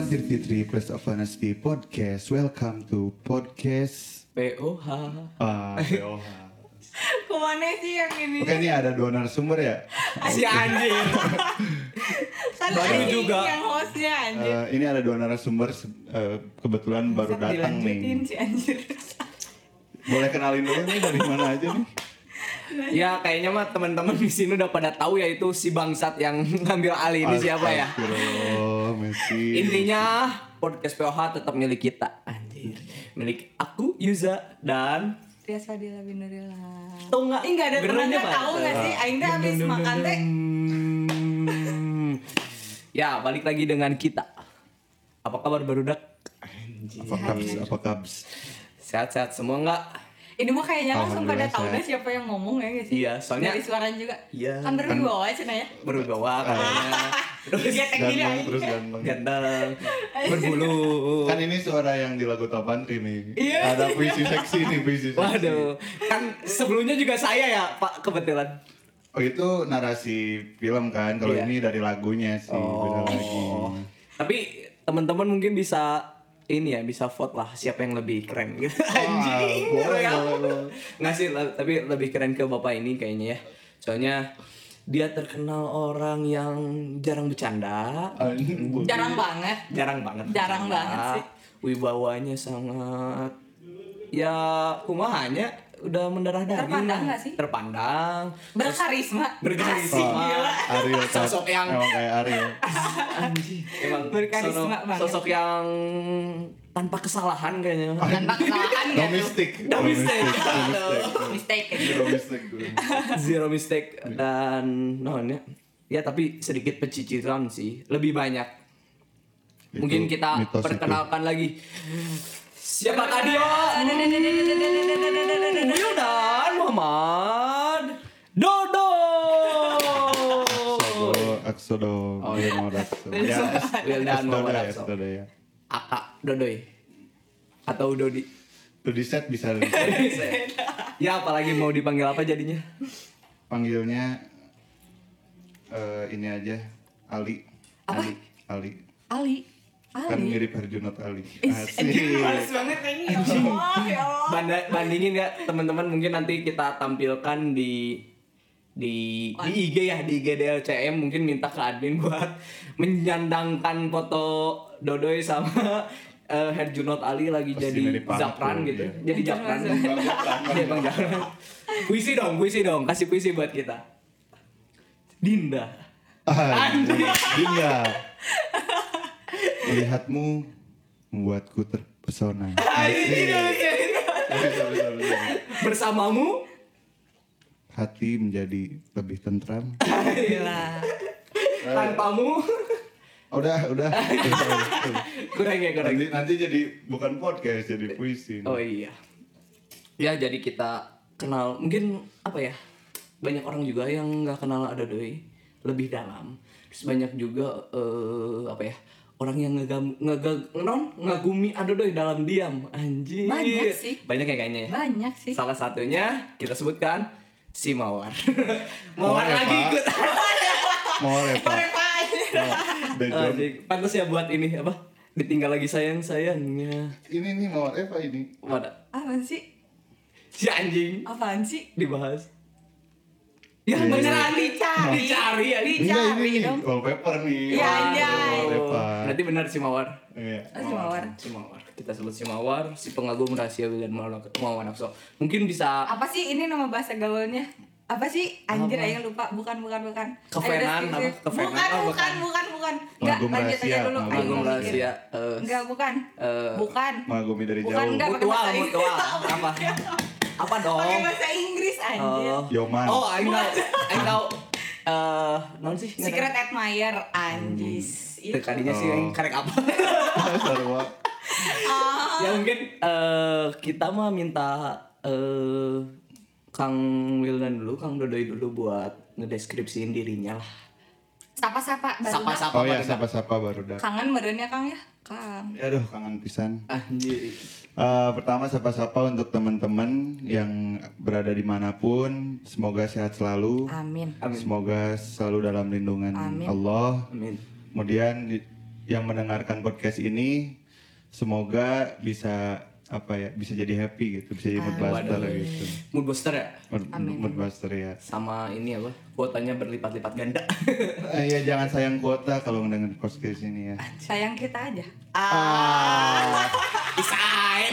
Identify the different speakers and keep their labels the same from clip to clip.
Speaker 1: Pasir Fitri Quest of Honesty Podcast. Welcome to podcast
Speaker 2: POH.
Speaker 1: uh, POH.
Speaker 3: Kemana sih yang ini?
Speaker 1: Oke, ini ada dua narasumber ya.
Speaker 2: Si anjing.
Speaker 3: Kan
Speaker 2: baru
Speaker 3: anjing
Speaker 2: juga.
Speaker 3: Yang hostnya anjir.
Speaker 1: Eh, ini ada dua narasumber se- eh, kebetulan baru
Speaker 3: Bisa
Speaker 1: datang
Speaker 3: dilanjutin
Speaker 1: nih.
Speaker 3: sih anjir.
Speaker 1: Boleh kenalin dulu nih dari mana aja nih?
Speaker 2: ya kayaknya mah teman-teman di sini udah pada tahu ya itu si bangsat yang ngambil alih ini siapa ya.
Speaker 1: Astagfirullah, Messi.
Speaker 2: Intinya podcast POH tetap milik kita. Anjir. Milik aku Yuza dan
Speaker 3: Ria Fadila Binurila.
Speaker 2: tau nggak?
Speaker 3: Ih, nggak ada
Speaker 2: gerundnya,
Speaker 3: temennya
Speaker 2: Pak?
Speaker 3: tahu nggak sih? Aing teh habis makan teh.
Speaker 2: Hmm. ya balik lagi dengan kita. Apa kabar barudak?
Speaker 1: Apa kabs? Apa kabs?
Speaker 2: Sehat-sehat semua nggak?
Speaker 3: Ini mah kayaknya langsung pada
Speaker 1: Alhamdulillah,
Speaker 3: tahu
Speaker 1: sehat.
Speaker 3: deh siapa yang ngomong ya guys.
Speaker 2: Iya, soalnya-
Speaker 3: dari suaranya juga.
Speaker 2: Iya.
Speaker 3: Kan berwibawa aja Naya.
Speaker 2: Berwibawa kayaknya. Terus
Speaker 1: Ganteng, terus ganteng.
Speaker 2: ganteng, berbulu.
Speaker 1: Kan ini suara yang di lagu Tapan ini.
Speaker 3: Iya.
Speaker 1: Ada puisi seksi nih, puisi seksi.
Speaker 2: Waduh, kan sebelumnya juga saya ya Pak kebetulan.
Speaker 1: Oh itu narasi film kan, kalau
Speaker 2: Iya. Oh.
Speaker 1: ini dari lagunya sih, beda lagi.
Speaker 2: Tapi teman-teman mungkin bisa ini ya bisa vote lah siapa yang lebih keren gitu.
Speaker 1: boleh, boleh, boleh.
Speaker 2: Nggak sih, le- tapi lebih keren ke bapak ini kayaknya ya. Soalnya dia terkenal orang yang jarang bercanda,
Speaker 1: Ah, ini bu-
Speaker 2: Iya.
Speaker 3: Jarang banget.
Speaker 2: jarang banget.
Speaker 3: Jarang
Speaker 2: bercanda.
Speaker 3: banget sih.
Speaker 2: Wibawanya sangat ya kumahanya udah mendarah daging.
Speaker 3: Terpandang
Speaker 2: lah.
Speaker 3: nggak sih?
Speaker 2: Terpandang.
Speaker 3: Berkarisma.
Speaker 2: Berkarisma.
Speaker 3: Asik, gila.
Speaker 1: Ariel Tat.
Speaker 2: Sosok yang-
Speaker 1: emang kayak Ariel.
Speaker 2: Emang
Speaker 3: Berkarisma
Speaker 2: sono-
Speaker 3: banget.
Speaker 2: sosok yang tanpa kesalahan kayaknya.
Speaker 3: Dan kesalahan nggak tuh?
Speaker 1: Domestik,
Speaker 2: Domestik.
Speaker 3: ya? Mistake.
Speaker 1: domestik, domestik.
Speaker 2: Zero mistake dan nonnya. Ya tapi sedikit pecicilan sih, lebih banyak.
Speaker 1: Itu
Speaker 2: Mungkin kita
Speaker 1: mitos itu.
Speaker 2: perkenalkan lagi. Siapa tadi ya? Wildan Muhammad Dodo.
Speaker 1: Sodo, Aksodo, oh, iya. mau Akso. Ya, S-
Speaker 2: Wildan
Speaker 1: Aksodo
Speaker 2: Muhammad
Speaker 1: ya,
Speaker 2: Akso.
Speaker 1: Aksodo ya.
Speaker 2: Aka Dodoy atau Dodi.
Speaker 1: Tuh di set bisa di-
Speaker 2: ya apalagi mau dipanggil apa jadinya?
Speaker 1: panggilnya eh, ini aja Ali.
Speaker 3: Apa?
Speaker 1: Ali. Ali.
Speaker 3: Ali.
Speaker 1: Kan
Speaker 3: Ali.
Speaker 1: mirip Herjunot Ali.
Speaker 3: Anjing,
Speaker 1: Asik.
Speaker 3: males banget ini. Ya Allah, ya Allah.
Speaker 2: Banda- bandingin ya teman-teman mungkin nanti kita tampilkan di di di IG ya di IG DLCM mungkin minta ke admin buat menyandangkan foto Dodoy sama eh, Herjunot Ali lagi
Speaker 1: Pasti
Speaker 2: jadi
Speaker 1: mirip banget
Speaker 2: Zapran
Speaker 1: tuh,
Speaker 2: gitu.
Speaker 1: iya.
Speaker 2: Jadi Zapran. Iya, Bang Zapran. Puisi dong, puisi dong. Kasih puisi buat kita. Dinda.
Speaker 1: Anjing. Dinda. Iya. Melihatmu membuatku terpesona.
Speaker 3: iya,
Speaker 1: Asik. Bisa, bisa, bisa.
Speaker 2: Bersamamu
Speaker 1: Hati menjadi lebih tentram.
Speaker 3: Gila.
Speaker 2: tanpamu
Speaker 1: Oh, Udah, udah.
Speaker 2: kurang ya kurang
Speaker 1: nanti, nanti jadi bukan podcast, jadi puisi.
Speaker 2: Oh iya. Ya jadi kita kenal mungkin apa ya? Banyak orang juga yang nggak kenal ada doi lebih dalam. Terus banyak juga eh apa ya? Orang yang ngegam ngegag non ngagumi ada doi dalam diam. Anjir.
Speaker 3: Banyak sih.
Speaker 2: Banyak ya kayaknya ya.
Speaker 3: Banyak sih.
Speaker 2: Salah satunya kita sebutkan si Mawar.
Speaker 1: Mawar
Speaker 2: Mawar
Speaker 1: ya,
Speaker 2: lagi
Speaker 1: Pak.
Speaker 2: ikut.
Speaker 1: Mau repot.
Speaker 2: Ah, jadi Pantas ya buat ini apa? Ditinggal lagi sayang sayangnya.
Speaker 1: Ini nih mau Eva ini.
Speaker 2: Wadah.
Speaker 3: Apaan sih?
Speaker 2: Si anjing.
Speaker 3: Apaan sih?
Speaker 2: dibahas ya
Speaker 1: Iya,
Speaker 2: beneran
Speaker 3: dicari.
Speaker 2: dicari ya
Speaker 3: Di-
Speaker 1: Enggak ini
Speaker 3: Dicari
Speaker 1: nih,
Speaker 3: dong.
Speaker 1: wallpaper nih.
Speaker 3: Iya,
Speaker 1: Waduh,
Speaker 3: anjay.
Speaker 1: Wallpaper.
Speaker 2: berarti benar si mawar
Speaker 1: Iya.
Speaker 3: Oh, si Mawar.
Speaker 2: si mawar kita sebut si mawar si pengagum rahasia William Mawar Mawar Nakso mungkin bisa
Speaker 3: Apa sih ini nama bahasa gaulnya? Apa sih? Anjir,
Speaker 2: Apa?
Speaker 3: ayo lupa. Bukan, bukan, bukan.
Speaker 2: Kevenan, apa?
Speaker 3: Ayo, udah, skip, skip.
Speaker 2: Kevenan, oh,
Speaker 3: Bukan, bukan,
Speaker 2: bukan.
Speaker 3: bukan, bukan. Enggak,
Speaker 1: Mengagum
Speaker 3: lanjut aja
Speaker 1: rahasia,
Speaker 3: dulu. Ayo
Speaker 2: pengagum
Speaker 3: mikir.
Speaker 2: rahasia eh,
Speaker 3: Iya. Enggak, bukan.
Speaker 2: eh,
Speaker 3: bukan.
Speaker 1: Mengagumi dari
Speaker 3: Bukan,
Speaker 1: jauh.
Speaker 3: enggak pakai
Speaker 2: mutual
Speaker 3: bahasa Inggris.
Speaker 2: mutual apa apa
Speaker 3: Pakai
Speaker 2: dong
Speaker 3: bahasa Inggris, anjir.
Speaker 2: Oh.
Speaker 1: Yoman.
Speaker 2: oh I know I know eh non sih nggak
Speaker 3: Secret admirer, anjis. Iya.
Speaker 2: tahu. tadinya sih
Speaker 1: Oh.
Speaker 2: yang karek apa
Speaker 1: Sarwa.
Speaker 3: Ah.
Speaker 2: ya mungkin eh kita mah minta eh Kang Wildan dulu, Kang Dodoy dulu buat ngedeskripsiin dirinya lah.
Speaker 3: Sapa-sapa. baru dah.
Speaker 2: Sapa-sapa
Speaker 1: Oh ya,
Speaker 2: pada-
Speaker 1: sapa-sapa baru dah.
Speaker 3: Kangen merenya, Kang ya? Kang.
Speaker 1: Aduh, kangen pisan.
Speaker 2: Anjir.
Speaker 1: Eh, pertama sapa-sapa untuk teman-teman yang berada dimanapun, semoga sehat selalu,
Speaker 3: Amin.
Speaker 2: Amin.
Speaker 1: semoga selalu dalam lindungan
Speaker 3: Amin.
Speaker 1: Allah.
Speaker 2: Amin.
Speaker 1: Kemudian di- yang mendengarkan podcast ini semoga bisa apa ya bisa jadi happy gitu bisa jadi mood booster gitu
Speaker 2: Mood booster ya?
Speaker 1: mood, mood booster ya
Speaker 2: Sama ini apa? Kuotanya berlipat-lipat ganda.
Speaker 1: Eh, ya jangan sayang kuota kalau mendengar podcast ini ya
Speaker 3: Sayang kita aja.
Speaker 2: Desain.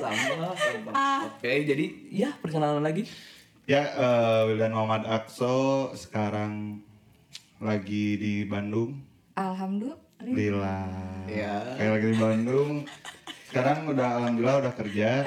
Speaker 2: sama, sama.
Speaker 3: Ah.
Speaker 2: Oke, jadi ya perkenalan lagi.
Speaker 1: ya eh, Wildan Muhammad Akso sekarang lagi di Bandung
Speaker 3: Alhamdulillah.
Speaker 1: Lila
Speaker 2: Ya.
Speaker 1: kayak lagi di Bandung sekarang udah alhamdulillah udah kerja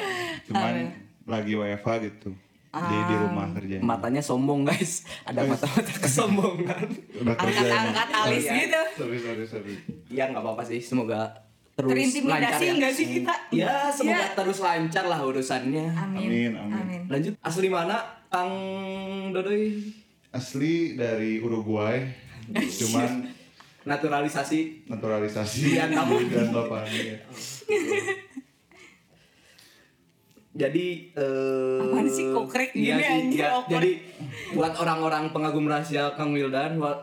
Speaker 1: cuman lagi WFH gitu di
Speaker 3: Ah.
Speaker 1: di rumah kerja
Speaker 2: Matanya sombong guys. Ada mata-mata kesombongan.
Speaker 1: udah kerja ini.
Speaker 3: Angkat-angkat alis gitu.
Speaker 1: sorry sorry sorry
Speaker 2: ya nggak apa-apa sih. Semoga terus lancar
Speaker 3: Terintimidasi
Speaker 2: ya.
Speaker 3: nggak sih kita? Iya.
Speaker 2: Ya, semoga terus lancar lah urusannya.
Speaker 1: amin amin,
Speaker 2: Lanjut, asli mana Kang Dodoy?
Speaker 1: asli dari Uruguay cuman
Speaker 2: Naturalisasi
Speaker 1: naturalisasi
Speaker 2: Iya, kamu.
Speaker 1: dan bapaknya
Speaker 2: Jadi eh
Speaker 3: Apaan sih, kokrek
Speaker 2: iya
Speaker 3: gini,
Speaker 2: sih,
Speaker 3: anjir,
Speaker 2: iya.
Speaker 3: awkward.
Speaker 2: Jadi buat orang-orang pengagum rahasia Kang Wildan wa-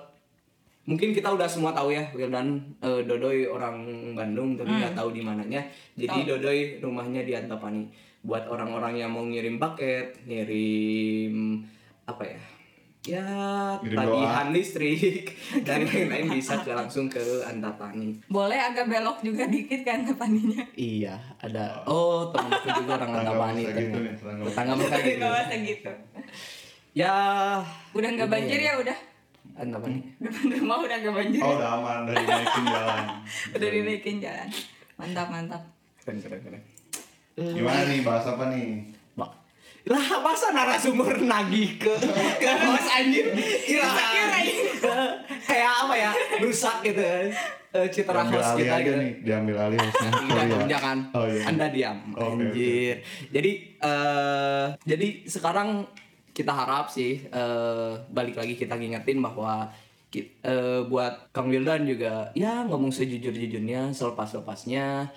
Speaker 2: mungkin kita udah semua tahu ya Wildan eh, Dodoy orang Bandung tapi nggak
Speaker 3: Hmm.
Speaker 2: tahu di mananya. Jadi Dodoy rumahnya di Antapani. Buat orang-orang yang mau ngirim paket, ngirim apa ya? Ya,
Speaker 1: Ngirim
Speaker 2: tagihan listrik dan lain-lain bisa ke langsung ke Antapani.
Speaker 3: Boleh agak belok juga dikit kan kepaninya.
Speaker 2: Iya, ada. Oh, temen aku juga orang
Speaker 1: Tetangga
Speaker 2: Antapani.
Speaker 1: bisa gitu
Speaker 2: ternyata.
Speaker 1: nih, tetangga bisa.
Speaker 2: Tetangga mereka gitu.
Speaker 3: Gak usah gitu.
Speaker 2: Ya, Eh,
Speaker 3: Udah nggak banjir
Speaker 2: iya.
Speaker 3: ya udah.
Speaker 2: Antapani.
Speaker 3: Depan rumah udah nggak banjir.
Speaker 1: oh udah aman dari naikin jalan
Speaker 3: Udah dinaikin jalan. Mantap mantap.
Speaker 2: Keren, keren, keren.
Speaker 1: gimana nih bahas apa nih
Speaker 2: Mak. Lah, masa narasumber nagih ke ke bos anjir? Kira-kira Kayak apa ya? Rusak gitu. Eh, Citra
Speaker 1: diambil
Speaker 2: host
Speaker 1: alih
Speaker 2: kita
Speaker 1: aja
Speaker 2: gitu.
Speaker 1: nih diambil alih hostnya
Speaker 2: Enggak,
Speaker 1: Sorry ya.
Speaker 2: jangan.
Speaker 1: oh iya
Speaker 2: Iya, kan? Anda diam.
Speaker 1: Oke, oke.
Speaker 2: Anjir. Jadi eh jadi sekarang kita harap sih eh balik lagi kita ngingetin bahwa ki- eh, buat Kang Wildan juga ya ngomong sejujur-jujurnya selepas-lepasnya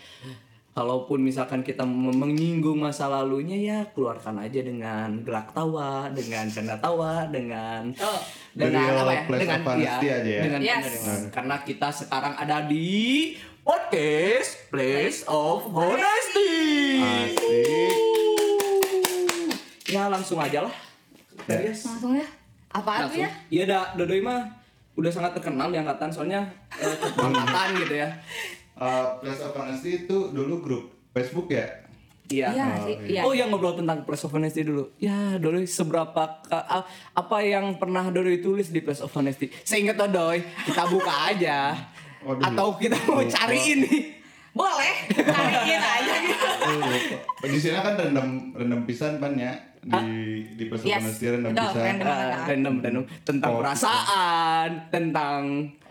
Speaker 2: kalaupun misalkan kita mem- menyinggung masa lalunya ya keluarkan aja dengan gerak tawa, dengan canda tawa, dengan
Speaker 3: Oh.
Speaker 1: Dengan
Speaker 2: dengan apa ya?
Speaker 1: place
Speaker 2: Dengan
Speaker 1: of honesty aja ya.
Speaker 2: dengan
Speaker 3: Yes.
Speaker 2: penerima. Karena kita sekarang ada di podcast Place of Honesty.
Speaker 1: Asik.
Speaker 2: Ya langsung aja lah. Yes.
Speaker 3: Langsung ya. Apa tuh
Speaker 2: Langsung.
Speaker 3: ya?
Speaker 2: Iya dah, Dodoi mah udah sangat terkenal di angkatan soalnya eh, angkatan gitu ya.
Speaker 1: Eh, Place of Honesty itu dulu grup Facebook ya
Speaker 2: Iya.
Speaker 3: Iya sih. Iya.
Speaker 2: Oh yang ngobrol tentang Place of Honesty dulu. Ya Dodoi seberapa ka- a- apa yang pernah Dodoi tulis di Place of Honesty? Seingat Dodoi, kita buka aja.
Speaker 1: Waduh.
Speaker 2: Atau kita mau
Speaker 1: Lupa.
Speaker 2: cari ini.
Speaker 3: Boleh. Tarikin aja gitu.
Speaker 1: di sini kan random random pisan pan ya di di Place of
Speaker 3: Ah, Yes.
Speaker 1: Honesty random
Speaker 3: Betul,
Speaker 1: pisan
Speaker 3: random.
Speaker 2: Eh, random random tentang
Speaker 1: Oh.
Speaker 2: perasaan tentang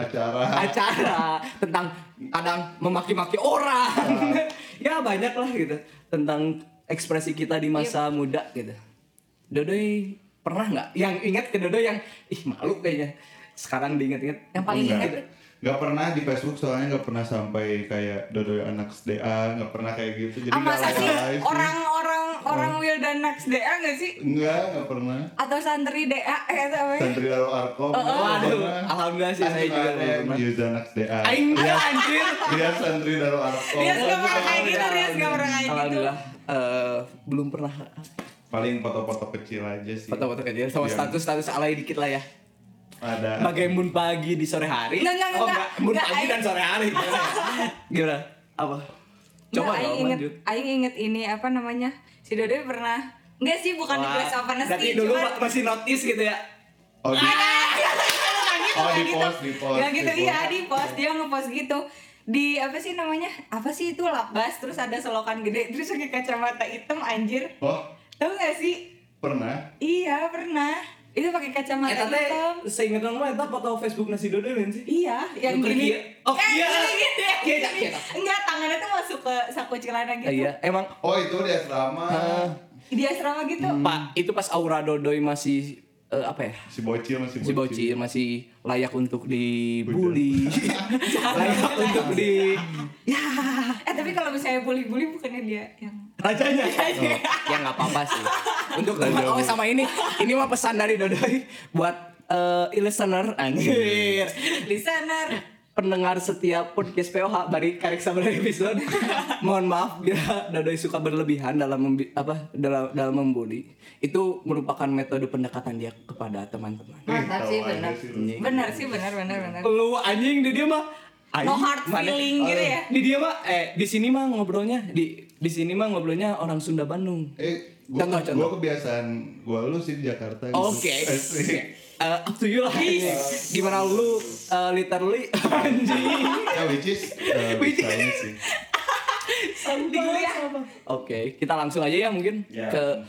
Speaker 1: acara
Speaker 3: Ah,
Speaker 2: acara tentang kadang memaki-maki orang ya banyak lah gitu tentang ekspresi kita di masa
Speaker 3: Iya.
Speaker 2: muda gitu Dodoy pernah nggak yang ingat ke Dodoy yang ih malu kayaknya sekarang diingat-ingat
Speaker 3: Yang paling
Speaker 1: Enggak.
Speaker 3: ingat
Speaker 1: Nggak pernah di Facebook soalnya nggak pernah sampai kayak dodoy anak SDA nggak pernah kayak gitu jadi
Speaker 3: Ah,
Speaker 1: nggak
Speaker 3: masa sih
Speaker 1: live sih.
Speaker 3: orang-orang
Speaker 2: Oh.
Speaker 3: orang Wildan Nax DA nggak sih?
Speaker 1: nggak nggak pernah
Speaker 3: Atau santri DA eh, atau apa ya?
Speaker 1: santri lalu arkom nggak
Speaker 2: waduh
Speaker 1: pernah.
Speaker 2: alhamdulillah sih
Speaker 1: Kan
Speaker 2: saya
Speaker 1: suka
Speaker 2: juga
Speaker 1: ada
Speaker 2: belum
Speaker 1: yang
Speaker 2: pernah.
Speaker 1: Yuda anak SDA
Speaker 2: aing
Speaker 1: Lihat-
Speaker 2: anjir
Speaker 1: lihat santri Iya, lalu arkom
Speaker 3: Dia Iya, suka
Speaker 1: Kan
Speaker 3: pernah kayak gitu, dia suka pernah kayak gitu.
Speaker 2: alhamdulillah eh, belum pernah
Speaker 1: paling foto-foto kecil aja sih
Speaker 2: foto-foto kecil sama
Speaker 1: Iya.
Speaker 2: status status alay dikit lah ya
Speaker 1: ada
Speaker 2: bagai moon pagi di sore hari
Speaker 3: Enggak, enggak,
Speaker 2: oh,
Speaker 3: enggak.
Speaker 2: moon
Speaker 3: Enggak,
Speaker 2: pagi
Speaker 3: Aing.
Speaker 2: dan sore hari gimana ya? Gimana? apa coba
Speaker 3: Nggak,
Speaker 2: dong
Speaker 3: Aing inget,
Speaker 2: lanjut
Speaker 3: Aing inget ini apa namanya? Si Dode pernah Enggak sih, bukan di
Speaker 2: Wah,
Speaker 3: Place of
Speaker 2: berarti
Speaker 3: Honesty
Speaker 2: dulu
Speaker 3: cuman-
Speaker 2: masih notice gitu ya
Speaker 1: oh di
Speaker 3: Iya, Nggak gitu,
Speaker 1: Oh,
Speaker 3: nggak
Speaker 1: di
Speaker 3: gitu.
Speaker 1: post, di post,
Speaker 3: Nggak
Speaker 1: di
Speaker 3: gitu,
Speaker 1: post.
Speaker 3: iya di post Dia ngepost gitu di apa sih namanya apa sih itu lapas terus ada selokan gede terus pakai kacamata hitam anjir
Speaker 1: oh
Speaker 3: tau gak sih
Speaker 1: pernah
Speaker 3: iya pernah itu
Speaker 2: eh
Speaker 3: pakai kacamata
Speaker 2: tante
Speaker 3: hitam
Speaker 2: seingat kamu itu foto Facebook nasi dodo lain sih
Speaker 3: Iya, yang
Speaker 2: Nuker
Speaker 3: gini.
Speaker 2: kia. Oh,
Speaker 3: Eh,
Speaker 2: iya.
Speaker 3: gini, gini,
Speaker 2: Kia,
Speaker 3: gini.
Speaker 2: kia.
Speaker 3: Enggak, tangannya tuh masuk ke saku celana gitu.
Speaker 2: iya emang
Speaker 1: oh itu di asrama
Speaker 3: Di asrama gitu.
Speaker 2: pak itu pas aura dodoy masih eh, apa ya
Speaker 1: si bocil masih
Speaker 2: si bocil masih layak untuk dibully layak untuk di
Speaker 3: Eh, tapi kalau misalnya bully-bully bukannya dia yang
Speaker 2: rajanya ya nggak apa-apa sih untuk teman oh sama ini ini mah pesan dari Dodoi buat eh listener anjir
Speaker 1: Iya,
Speaker 3: listener.
Speaker 2: pendengar setiap podcast POH bari karek sabar episode. Mohon maaf bila Dadoy suka berlebihan dalam membi- apa dalam dalam membuli. Itu merupakan metode pendekatan dia kepada teman-teman.
Speaker 3: Mantap sih
Speaker 1: Tahu aja
Speaker 3: benar.
Speaker 1: sih lu.
Speaker 3: Benar sih benar benar benar.
Speaker 2: Lu anjing di dia mah aing,
Speaker 3: No hard
Speaker 2: mana-
Speaker 3: feeling gitu ya.
Speaker 2: Di dia mah eh di sini mah ngobrolnya di di sini mah ngobrolnya orang Sunda Bandung.
Speaker 1: Eh, gua,
Speaker 2: Contoh, contoh.
Speaker 1: gua kebiasaan gua lu sih di Jakarta gitu.
Speaker 2: Oke.
Speaker 1: Asik.
Speaker 2: Eh, up to you lah. Gimana lu eh, literally anjing.
Speaker 1: Ya, which is eh,
Speaker 2: Which
Speaker 1: bisa ini sih.
Speaker 3: Di kuliah.
Speaker 2: Oke, kita langsung aja ya mungkin
Speaker 1: Ya.
Speaker 2: ke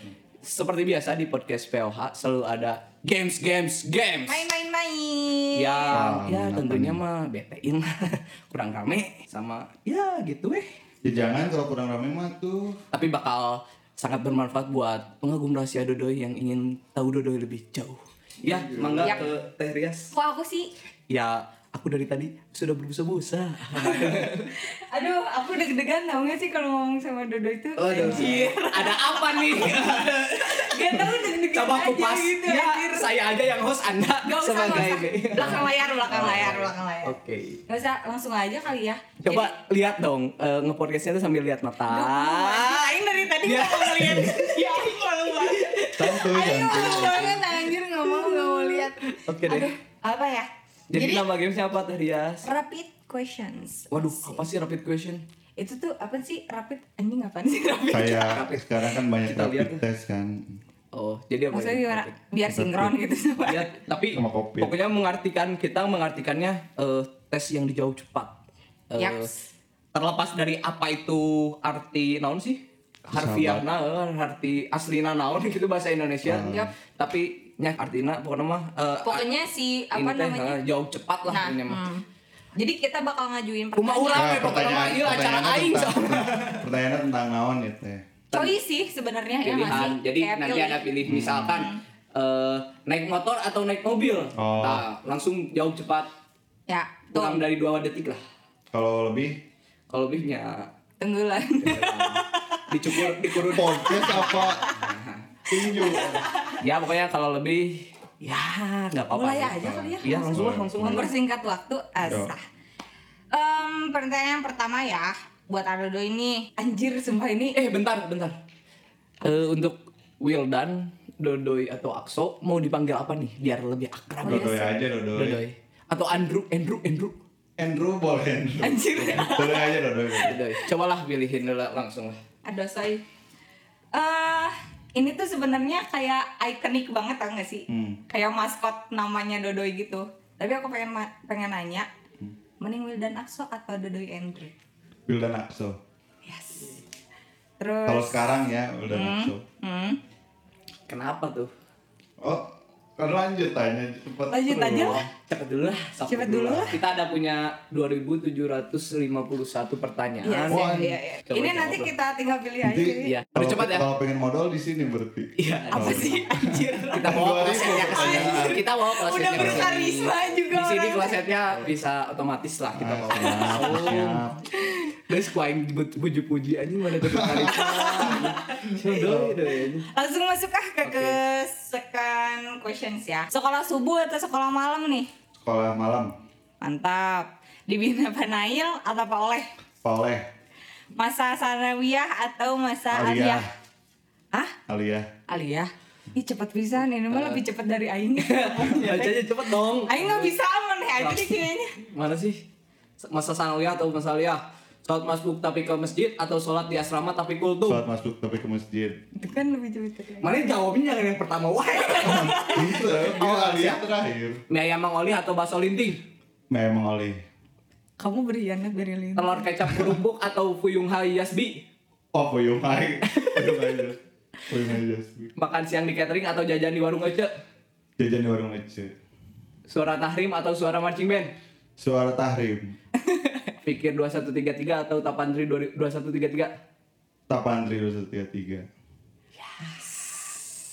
Speaker 2: seperti biasa di podcast POH selalu ada games games games.
Speaker 3: Main-main-main.
Speaker 2: Ya,
Speaker 1: Ah,
Speaker 2: ya
Speaker 1: apa
Speaker 2: tentunya mah betein kurang rame sama ya gitu eh.
Speaker 1: Ya, jangan kalau kurang rame mah tuh.
Speaker 2: Tapi bakal sangat bermanfaat buat pengagum rahasia Dodoy yang ingin tahu Dodoy lebih jauh. Ya, mangga
Speaker 3: Yap.
Speaker 2: ke Teh Rias.
Speaker 3: Kok aku sih?
Speaker 2: Ya, aku dari tadi sudah berbusa-busa.
Speaker 3: Aduh, aku deg-degan tau gak sih kalau ngomong sama Dodo itu?
Speaker 2: Oh, Anjir, ada apa nih?
Speaker 3: Gak tau deg-degan
Speaker 2: Coba
Speaker 3: aja
Speaker 2: kupas.
Speaker 3: gitu.
Speaker 2: ya,
Speaker 3: anjir.
Speaker 2: saya aja yang host Anda
Speaker 3: Gak usah,
Speaker 2: sebagai
Speaker 3: gak usah. Belakang layar,
Speaker 2: Oh.
Speaker 3: belakang layar, belakang layar.
Speaker 2: Oke.
Speaker 3: Gak usah, langsung aja kali ya.
Speaker 2: Coba lihat dong eh, nge-podcastnya tuh sambil lihat mata.
Speaker 3: Ah, Aing dari tadi
Speaker 2: Ya.
Speaker 3: gak mau ngeliat. Ya, Aing malu banget.
Speaker 1: Santuy,
Speaker 3: Aing
Speaker 1: santuy.
Speaker 3: malu banget anjir, gak mau, gak mau lihat.
Speaker 2: Oke deh.
Speaker 3: Aduh, apa ya?
Speaker 2: Jadi,
Speaker 3: Jadi,
Speaker 2: nama gamesnya apa Teh Rias?
Speaker 3: rapid questions.
Speaker 2: Waduh, apa sih rapid question?
Speaker 3: Itu tuh apa sih rapid anjing apaan sih rapid?
Speaker 1: Kayak sekarang kan banyak
Speaker 2: Kita lihat
Speaker 1: rapid
Speaker 2: ya.
Speaker 1: test kan.
Speaker 2: Oh, jadi apa?
Speaker 3: Maksudnya
Speaker 2: ya?
Speaker 3: gimana? Biar sinkron gitu sama.
Speaker 2: Ya, tapi
Speaker 1: Sama kopi.
Speaker 2: pokoknya mengartikan kita mengartikannya eh, tes yang dijawab cepat. Eh,
Speaker 3: Yaps.
Speaker 2: Terlepas dari apa itu arti naon sih? Harfiah naon, arti aslina naon gitu bahasa Indonesia.
Speaker 3: Yap.
Speaker 2: Tapi nya artina pokoknya mah eh,
Speaker 3: Pokoknya si
Speaker 2: ini
Speaker 3: apa
Speaker 2: teh,
Speaker 3: namanya?
Speaker 2: eh, jawab cepat lah
Speaker 3: Nah,
Speaker 2: ini mah.
Speaker 3: hmm. jadi kita bakal ngajuin
Speaker 2: Rumah urang
Speaker 1: Nah,
Speaker 2: we ya, pokoknya mah ieu acara
Speaker 1: pertanyaannya
Speaker 2: aing
Speaker 1: tentang-
Speaker 2: soalnya.
Speaker 1: Pertanyaannya tentang naon ya teh.
Speaker 3: Choice sih sebenarnya ya nggak
Speaker 2: pilihan.
Speaker 3: sih?
Speaker 2: Jadi
Speaker 3: Kayak
Speaker 2: nanti
Speaker 3: pilih. Hmm.
Speaker 2: ada pilih misalkan eh, naik motor atau naik mobil.
Speaker 1: Oh.
Speaker 2: Nah, langsung jawab cepat
Speaker 3: Ya, tuh
Speaker 2: kurang dari dua detik lah.
Speaker 1: Kalau lebih
Speaker 2: Kalau lebihnya
Speaker 3: tenggelam.
Speaker 2: dicukur dikurun.
Speaker 1: podcast apa tinju
Speaker 2: ya pokoknya kalau lebih ya nggak apa-apa.
Speaker 3: Mulai
Speaker 2: sih.
Speaker 3: aja kali ya.
Speaker 2: Iya langsung lah langsung lah.
Speaker 3: Mempersingkat waktu asah. Em, pertanyaan pertama ya buat Arodo ini. Anjir sumpah ini.
Speaker 2: Eh bentar bentar. Eh, untuk Wildan, Dodoy atau Akso mau dipanggil apa nih biar lebih akrab?
Speaker 1: Dodoy aja Dodoy
Speaker 2: Dodoy atau Andrew Andrew Andrew.
Speaker 1: Andrew boleh Andrew
Speaker 3: Anjir.
Speaker 1: Dodoy aja Dodoy
Speaker 2: Dodoy. Cobalah pilihin dulu langsung lah.
Speaker 3: Aduh say. Eh, ini tuh sebenarnya kayak ikonik banget tau gak sih?
Speaker 1: Hmm.
Speaker 3: Kayak maskot namanya Dodoy gitu. Tapi aku pengen ma- pengen nanya, mending Wildan Akso atau Dodoy Andrew?
Speaker 1: Wildan Akso
Speaker 3: Yes.
Speaker 1: kalau
Speaker 3: Terus
Speaker 1: sekarang ya Wildan Akso
Speaker 3: hmm,
Speaker 2: Kenapa tuh?
Speaker 1: oh kan lanjut tanya cepet
Speaker 3: lanjut
Speaker 1: terus.
Speaker 3: aja.
Speaker 2: Cepet dulu lah. sapu
Speaker 3: Cepet dulu lah.
Speaker 2: Kita ada punya 2751 pertanyaan.
Speaker 3: Iya,
Speaker 1: Wah,
Speaker 3: sih, iya, iya.
Speaker 2: coba
Speaker 3: Ini
Speaker 2: jawab
Speaker 3: nanti
Speaker 2: lah.
Speaker 3: kita tinggal pilih aja.
Speaker 1: Nanti
Speaker 3: sih.
Speaker 2: Iya.
Speaker 1: kalau
Speaker 2: Aduh, cepat ya.
Speaker 1: kalau pengen modal di sini berarti
Speaker 2: Iya.
Speaker 3: Apa sih anjir?
Speaker 2: Kita
Speaker 1: 2000
Speaker 2: bawa klosetnya ke sini.
Speaker 1: pertanyaan.
Speaker 2: Kita bawa klosetnya.
Speaker 3: Udah
Speaker 2: ke sini.
Speaker 3: berkarisma juga
Speaker 2: Di sini
Speaker 3: orang.
Speaker 2: klosetnya bisa otomatis lah kita bawa.
Speaker 1: siap, siap.
Speaker 2: Guys, ku aing bu- puji-puji anjing mana tuh berkarisma. Dodoy, dodoy.
Speaker 3: Langsung masuk ah ke, ke second questions ya. Sekolah subuh atau sekolah malam nih?
Speaker 1: sekolah malam
Speaker 3: Mantap. Dibina Panail atau Pak Oleh?
Speaker 1: Paleh
Speaker 3: Masa Sanawiyah atau masa
Speaker 1: Aliyah.
Speaker 3: Aliyah? Hah?
Speaker 1: Alia
Speaker 3: Aliyah? Ih cepet bisa nih, ini mah lebih cepet dari Aing.
Speaker 2: Bacanya cepet dong.
Speaker 3: Iya, Aing nggak bisa aman ya, aja deh kayaknya.
Speaker 2: Mana sih? Masa sanawiyah atau masa aliyah? Sholat masbuk tapi ke masjid atau sholat di asrama tapi kultum?
Speaker 1: sholat masuk tapi ke masjid
Speaker 3: Itu kan lebih cepet dari Aing.
Speaker 2: Mana jawabnya jangan yang pertama wae.
Speaker 1: gitu oh, Alia terakhir
Speaker 2: Mie ayam Mang Oli atau bakso linting?
Speaker 1: memang oleh
Speaker 3: Kamu ya, berkhianat dari Lin.
Speaker 2: Telur kecap kerupuk atau fuyung hai yasbi?
Speaker 1: oh puyuh mai puyuh aja puyuh aja
Speaker 2: Makan siang di catering atau jajan di warung ece?
Speaker 1: jajan di warung ece
Speaker 2: Suara tahrim atau suara marching band?
Speaker 1: suara tahrim
Speaker 2: Pikir 2133 atau tapandri 2133?
Speaker 1: Tapan Rio 133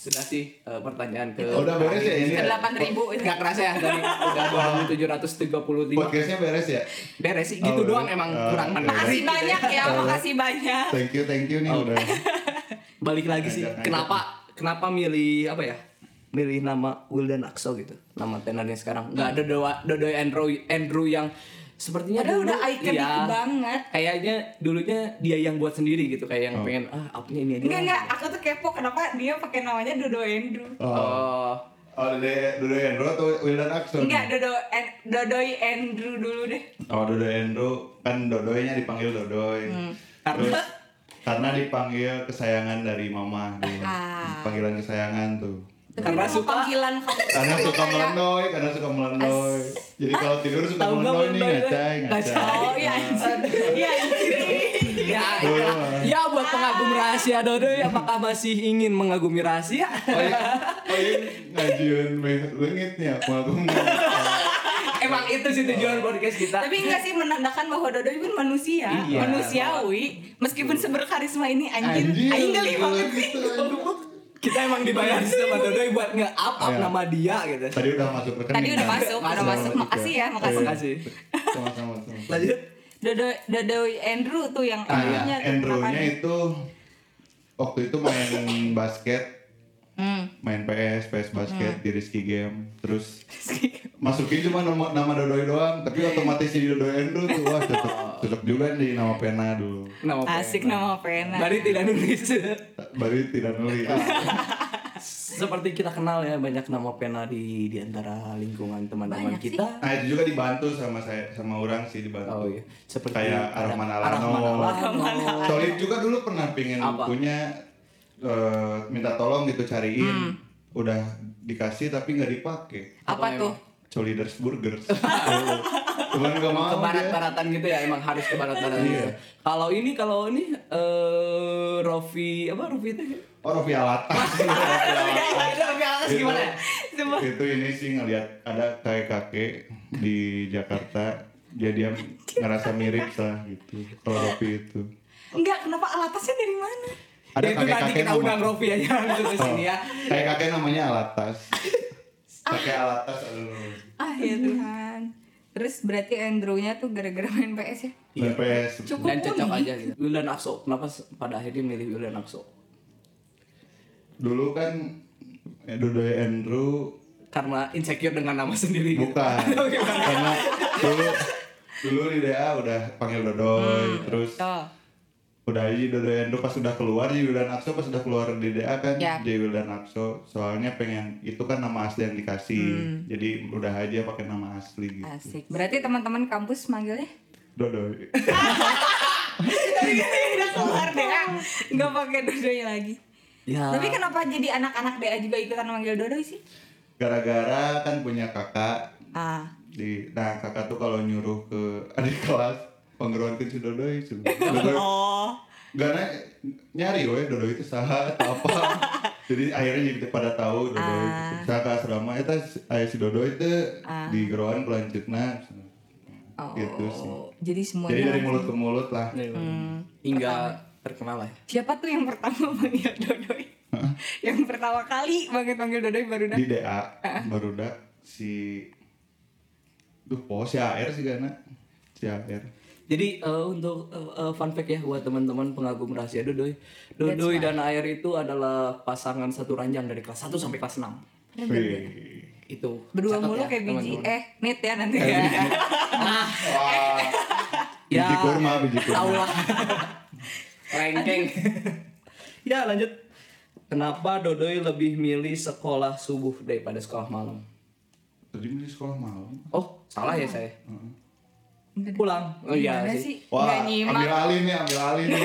Speaker 2: Sudah sih eh, pertanyaan ke...
Speaker 1: Oh, udah beres ya ini
Speaker 3: Ke
Speaker 1: ya?
Speaker 3: delapan ribu.
Speaker 2: Gak kerasa ya dari udah 2735
Speaker 1: podcastnya beres ya
Speaker 2: Beres sih,
Speaker 1: Oh,
Speaker 2: gitu doang
Speaker 1: beres.
Speaker 2: emang
Speaker 1: Oh,
Speaker 2: kurang
Speaker 1: oke.
Speaker 2: menarik gitu
Speaker 3: Makasih
Speaker 2: ya.
Speaker 3: banyak ya, makasih banyak.
Speaker 1: thank you thank you nih udah
Speaker 2: Balik lagi sih,
Speaker 1: Ajak-ajak.
Speaker 2: kenapa kenapa milih apa ya? Milih nama Wildan Akso gitu, nama tenornya sekarang Gak ada Dodoy Andrew, Andrew yang sepertinya
Speaker 3: Padahal
Speaker 2: dulu-
Speaker 3: Ya udah ikonik
Speaker 2: iya.
Speaker 3: banget.
Speaker 2: kayaknya dulunya dia yang buat sendiri gitu kayak yang
Speaker 1: Oh.
Speaker 2: pengen ah upnya ini aja
Speaker 3: Enggak
Speaker 2: lah."
Speaker 3: enggak, aku tuh kepo kenapa dia pakai namanya Dodo Andrew.
Speaker 1: Oh,
Speaker 2: oh
Speaker 1: oh Dede, Dodo Endro atau Wildan Akson?
Speaker 3: Enggak, Dodo An- Dodoi Andrew dulu deh.
Speaker 1: Oh Dodo Endro kan Dodoynya dipanggil Dodoy. Terus karena dipanggil kesayangan dari mama dia.
Speaker 3: Ah.
Speaker 1: Panggilan kesayangan tuh.
Speaker 2: Karena
Speaker 3: Itu
Speaker 2: suka-
Speaker 3: panggilan kamu.
Speaker 1: Karena suka melendoy, karena suka melendoy. Jadi kalau tidur suka
Speaker 2: Tahu nggak
Speaker 1: melendoy nih
Speaker 2: melendoy?
Speaker 1: ngacai, ngacai.
Speaker 3: Oh iya anjir. Iya anjir.
Speaker 2: ya,
Speaker 1: Dodo.
Speaker 2: ya, ya buat pengagum rahasia Dodo apakah masih ingin mengagumi rahasia
Speaker 1: Oh iya, ngajian me- lengitnya, mengagum.
Speaker 2: emang itu sih tujuan podcast kita
Speaker 3: Tapi enggak sih menandakan bahwa Dodo pun manusia,
Speaker 2: Iya.
Speaker 3: manusiawi. Meskipun seberkarisma ini anjir,
Speaker 1: Anjir,
Speaker 3: anjir geli
Speaker 1: gila
Speaker 3: banget sih.
Speaker 1: gitu, anjir.
Speaker 2: kita emang dibayar sama Dodo ya buat nge-up up
Speaker 1: Iya.
Speaker 2: nama dia gitu
Speaker 1: Tadi udah masuk rekening.
Speaker 3: Tadi udah
Speaker 1: kan?
Speaker 3: masuk, udah
Speaker 1: Sama
Speaker 3: masuk.
Speaker 1: kita.
Speaker 3: Makasih ya, makasih.
Speaker 2: Makasih.
Speaker 1: Sama-sama. sama-sama.
Speaker 2: lanjut
Speaker 3: Dodo Dodoi Andrew tuh yang
Speaker 2: Ah,
Speaker 1: Nah,
Speaker 2: iya,
Speaker 3: Andrew-nya tuh
Speaker 1: Andrew-nya
Speaker 3: kapan?
Speaker 1: itu waktu itu main basket,
Speaker 3: Hmm.
Speaker 1: main PS, PS basket di Risky Game, terus masukin cuma nama, nama Dodoy doang, tapi
Speaker 3: Iya,
Speaker 1: otomatis jadi Dodoy Andrew tuh wah cocok, cocok juga nih nama pena dulu.
Speaker 2: nama
Speaker 3: Asik
Speaker 2: pena.
Speaker 3: nama pena.
Speaker 2: Bari tidak nulis
Speaker 1: Baru tidak nulis.
Speaker 2: seperti kita kenal ya banyak nama pena di di antara lingkungan teman-teman
Speaker 3: Banyak sih.
Speaker 2: kita
Speaker 1: Nah itu juga dibantu sama saya, sama orang sih dibantu.
Speaker 2: oh iya seperti
Speaker 1: Kayak
Speaker 2: ada
Speaker 1: Arman Alano.
Speaker 2: Arman Alano.
Speaker 1: Solid juga dulu pernah pingin
Speaker 2: Apa?
Speaker 1: punya eh, minta tolong gitu
Speaker 2: Hmm.
Speaker 1: cariin, udah dikasih tapi nggak dipakai.
Speaker 2: Apa
Speaker 3: Apa tuh?
Speaker 1: Soliders Burgers. Oh. Cuman gak mau
Speaker 2: ke
Speaker 1: dia.
Speaker 2: barat-baratan gitu ya emang harus ke barat-baratan
Speaker 1: Iya.
Speaker 2: gitu. Kalau ini kalau ini eh Rofi apa Rofi itu?
Speaker 1: Oh Rofi Alata.
Speaker 2: Rofi atas
Speaker 1: Itu-
Speaker 2: gimana?
Speaker 1: Itu ini sih ngeliat ada kayak kakek di Jakarta. Dia dia ngerasa mirip lah gitu. Kalau Rofi itu.
Speaker 3: Enggak, kenapa alatasnya dari mana?
Speaker 1: Ada
Speaker 2: Ya, itu nanti
Speaker 1: kakek-kakek Oh.
Speaker 2: kita
Speaker 1: nama.
Speaker 2: undang Rofi aja langsung ke sini ya.
Speaker 1: Kayak kakek namanya Alatas. Kakek Alatas aduh.
Speaker 3: Ah ya Tuhan. Terus berarti Andrew-nya tuh gara-gara main PS ya?
Speaker 1: BPS.
Speaker 3: Cukup.
Speaker 2: Dan cocok
Speaker 3: unik.
Speaker 2: aja gitu. Wildan Akso. Kenapa s- pada akhirnya milih Wildan Akso?
Speaker 1: Dulu kan eh, Dodo Andrew
Speaker 2: Karena insecure dengan nama sendiri. gitu.
Speaker 1: Bukan.
Speaker 2: Oke, bukan.
Speaker 1: Karena dulu dulu di DA udah panggil Dodoy, terus
Speaker 3: Oh.
Speaker 1: udah aja Dodoy Endo pas udah keluar jadi Wildan Akso pas udah keluar di DA kan
Speaker 3: Ya.
Speaker 1: jadi Wildan Akso soalnya pengen itu kan nama asli yang dikasih jadi udah aja pakai nama asli gitu.
Speaker 3: Asik. Berarti teman-teman kampus manggilnya
Speaker 1: Dodoy
Speaker 3: Tapi kan dia udah keluar DA, nggak pakai Dodoi lagi.
Speaker 2: Ya.
Speaker 3: Tapi kenapa jadi anak-anak DA juga ikutan manggil Dodoi sih?
Speaker 1: gara-gara kan punya kakak
Speaker 3: Ah.
Speaker 1: di nah kakak tuh kalau nyuruh ke adik kelas penggeruan ke si Dodoy si Dodoy
Speaker 3: Oh.
Speaker 1: Gak na- nyari weh Dodo itu saha atau apa Jadi akhirnya jadi pada tahu Dodo
Speaker 3: Ah.
Speaker 1: itu Saha ke asrama itu ayah si Dodo itu di geroan kelanjutnya
Speaker 3: Oh.
Speaker 1: Gitu sih
Speaker 3: Jadi
Speaker 1: Jadi
Speaker 3: semuanya.
Speaker 1: dari mulut ke mulut
Speaker 2: Hmm.
Speaker 1: lah
Speaker 2: Hingga terkenal lah. ya.
Speaker 3: Siapa tuh yang pertama manggil Dodoi? yang pertama kali banget manggil Dodoi baru dah.
Speaker 1: Di DA
Speaker 3: Ah.
Speaker 1: baru dak si Duh oh si AR sih karena Si AR
Speaker 2: Jadi eh, untuk eh, eh, fun fact ya buat teman-teman pengagum rahasia Dodoy. Dodoy dan Air itu adalah pasangan satu ranjang dari kelas 1 sampai kelas 6.
Speaker 1: Wih.
Speaker 2: Itu.
Speaker 3: Berdua
Speaker 2: Catat ya,
Speaker 3: mulu kayak biji
Speaker 2: teman-teman.
Speaker 3: eh nit ya nanti ya.
Speaker 1: Wah
Speaker 2: Nah. Ya.
Speaker 1: Biji kurma biji
Speaker 2: Tahu
Speaker 1: kurma
Speaker 2: lah. Lengkeng. ya, lanjut. Kenapa Dodoy lebih milih sekolah subuh daripada sekolah malam?
Speaker 1: Tadi milih sekolah malam
Speaker 2: Oh, salah ya saya.
Speaker 3: Enggak deh.
Speaker 2: Pulang. Oh iya
Speaker 3: Gimana
Speaker 2: sih.
Speaker 3: sih?
Speaker 1: Wah
Speaker 3: Nggak nyimak.
Speaker 1: ambil alih nih ambil alih nih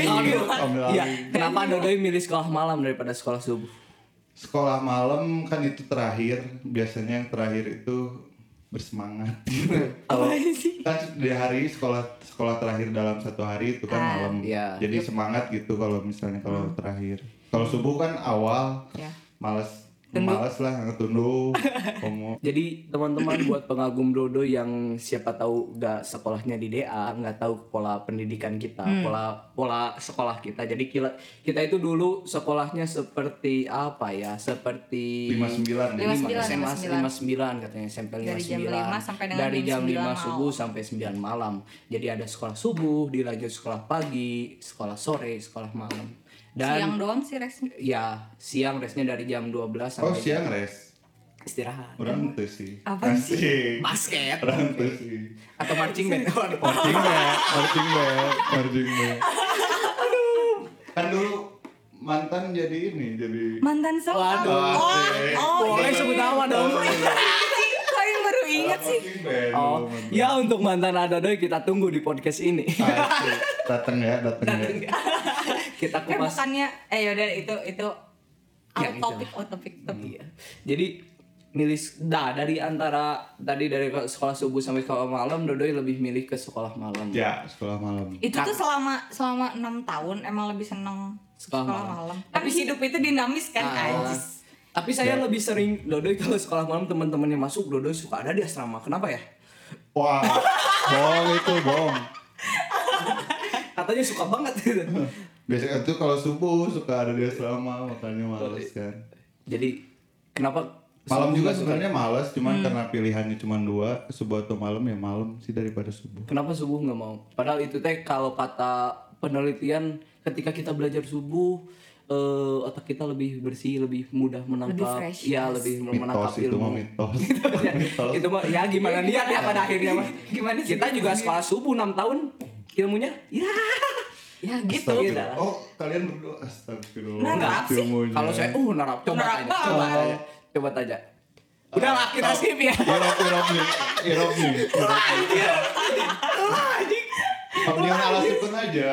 Speaker 1: Ambil alih
Speaker 2: Iya, kenapa Dodoy milih sekolah malam daripada sekolah subuh?
Speaker 1: sekolah malam kan itu terakhir biasanya yang terakhir itu bersemangat
Speaker 2: Kalau
Speaker 1: kan di hari sekolah sekolah terakhir dalam satu hari itu kan malam
Speaker 2: iya. Hmm.
Speaker 1: jadi semangat gitu kalau misalnya kalau terakhir kalau subuh kan awal
Speaker 3: Ya.
Speaker 1: males males lah tunduk komo
Speaker 2: Jadi teman-teman buat pengagum Dodo yang siapa tahu gak sekolahnya di DA, nggak tahu pola pendidikan kita,
Speaker 3: Hmm.
Speaker 2: pola pola sekolah kita. Jadi kita, kita itu dulu sekolahnya seperti apa ya? Seperti
Speaker 1: 59
Speaker 3: Lima- 59,
Speaker 2: SMA 59
Speaker 3: 59.
Speaker 2: katanya SMP 59.
Speaker 3: Dari jam 5 sampai dengan
Speaker 2: Dari
Speaker 3: jam
Speaker 2: jam 5
Speaker 3: 9
Speaker 2: subuh sampai 9 malam. Jadi ada sekolah subuh, dilanjut sekolah pagi, sekolah sore, sekolah malam. Dan
Speaker 3: Siang doang sih resmi.
Speaker 2: ya siang resnya dari jam 12
Speaker 1: oh
Speaker 2: sampai
Speaker 1: siang res
Speaker 2: istirahat
Speaker 1: Orang tuh sih.
Speaker 3: Apa
Speaker 1: Asik.
Speaker 3: sih?
Speaker 2: basket
Speaker 1: Orang tuh sih.
Speaker 2: atau marching band Waduh.
Speaker 1: Marching band, marching band, marching band. Kan dulu mantan jadi ini, jadi
Speaker 3: Mantan selap.
Speaker 2: Waduh.
Speaker 3: Oh, oh,
Speaker 2: boleh
Speaker 3: iya.
Speaker 2: sebut nama dong
Speaker 3: Anjing, Kok yang baru inget sih?
Speaker 1: Marching band
Speaker 2: oh
Speaker 1: dulu mantan.
Speaker 2: ya untuk mantan ada doi kita tunggu di podcast ini
Speaker 1: Asik. Dateng ya, dateng ya.
Speaker 2: kita
Speaker 3: Eh
Speaker 2: kupas
Speaker 3: bukannya eh yaudah itu itu out
Speaker 2: Yang itu.
Speaker 3: topik out topik topik.
Speaker 2: Iya. Jadi milih nah dari antara tadi dari sekolah subuh sampai sekolah malam Dodoy lebih milih ke sekolah malam.
Speaker 1: Ya, sekolah malam.
Speaker 3: Itu tuh selama selama enam tahun emang lebih seneng
Speaker 2: Sekolah
Speaker 3: sekolah,
Speaker 2: malam.
Speaker 3: malam. Tapi hidup itu dinamis kan
Speaker 2: Ah.
Speaker 3: anjis.
Speaker 2: Tapi
Speaker 1: Ya.
Speaker 2: saya lebih sering Dodoy kalau sekolah malam teman-teman yang masuk Dodoy suka ada di asrama. Kenapa ya?
Speaker 1: Wah, bohong itu bohong.
Speaker 2: Katanya suka banget gitu.
Speaker 1: Biasanya tuh kalau subuh suka ada di asrama, makanya males kan.
Speaker 2: Jadi kenapa
Speaker 1: Malam
Speaker 2: subuh
Speaker 1: juga
Speaker 2: nggak suka?
Speaker 1: sebenarnya males,
Speaker 3: Hmm.
Speaker 1: cuman karena pilihannya cuma dua, subuh atau malam ya malam sih daripada subuh.
Speaker 2: Kenapa subuh nggak mau? Padahal itu teh kalau kata penelitian ketika kita belajar subuh eh, otak kita lebih bersih, lebih mudah menangkap,
Speaker 3: Lebih fresh,
Speaker 2: ya
Speaker 3: yes.
Speaker 2: lebih menangkap
Speaker 1: Mitos itu mah
Speaker 2: ilmu.
Speaker 1: mitos.
Speaker 2: Ya,
Speaker 1: mitos.
Speaker 2: itu mah ya gimana niat ya pada akhirnya mah
Speaker 3: Gimana sih
Speaker 2: kita juga sekolah subuh 6 tahun ilmunya ya ya gitu
Speaker 1: Astagfirullah.
Speaker 2: gitu
Speaker 1: Oh, kalian berdua astagfirullah.
Speaker 3: Nah, nggak sih.
Speaker 1: Ilmunya.
Speaker 2: kalau saya uh narap coba
Speaker 3: Narap
Speaker 2: tanya
Speaker 3: banget.
Speaker 2: coba tanya coba tanya
Speaker 1: Eh,
Speaker 2: udah lah kita skip ya
Speaker 1: Irop, irop nih, irop nih. Irop. Panggilan ala sukun aja.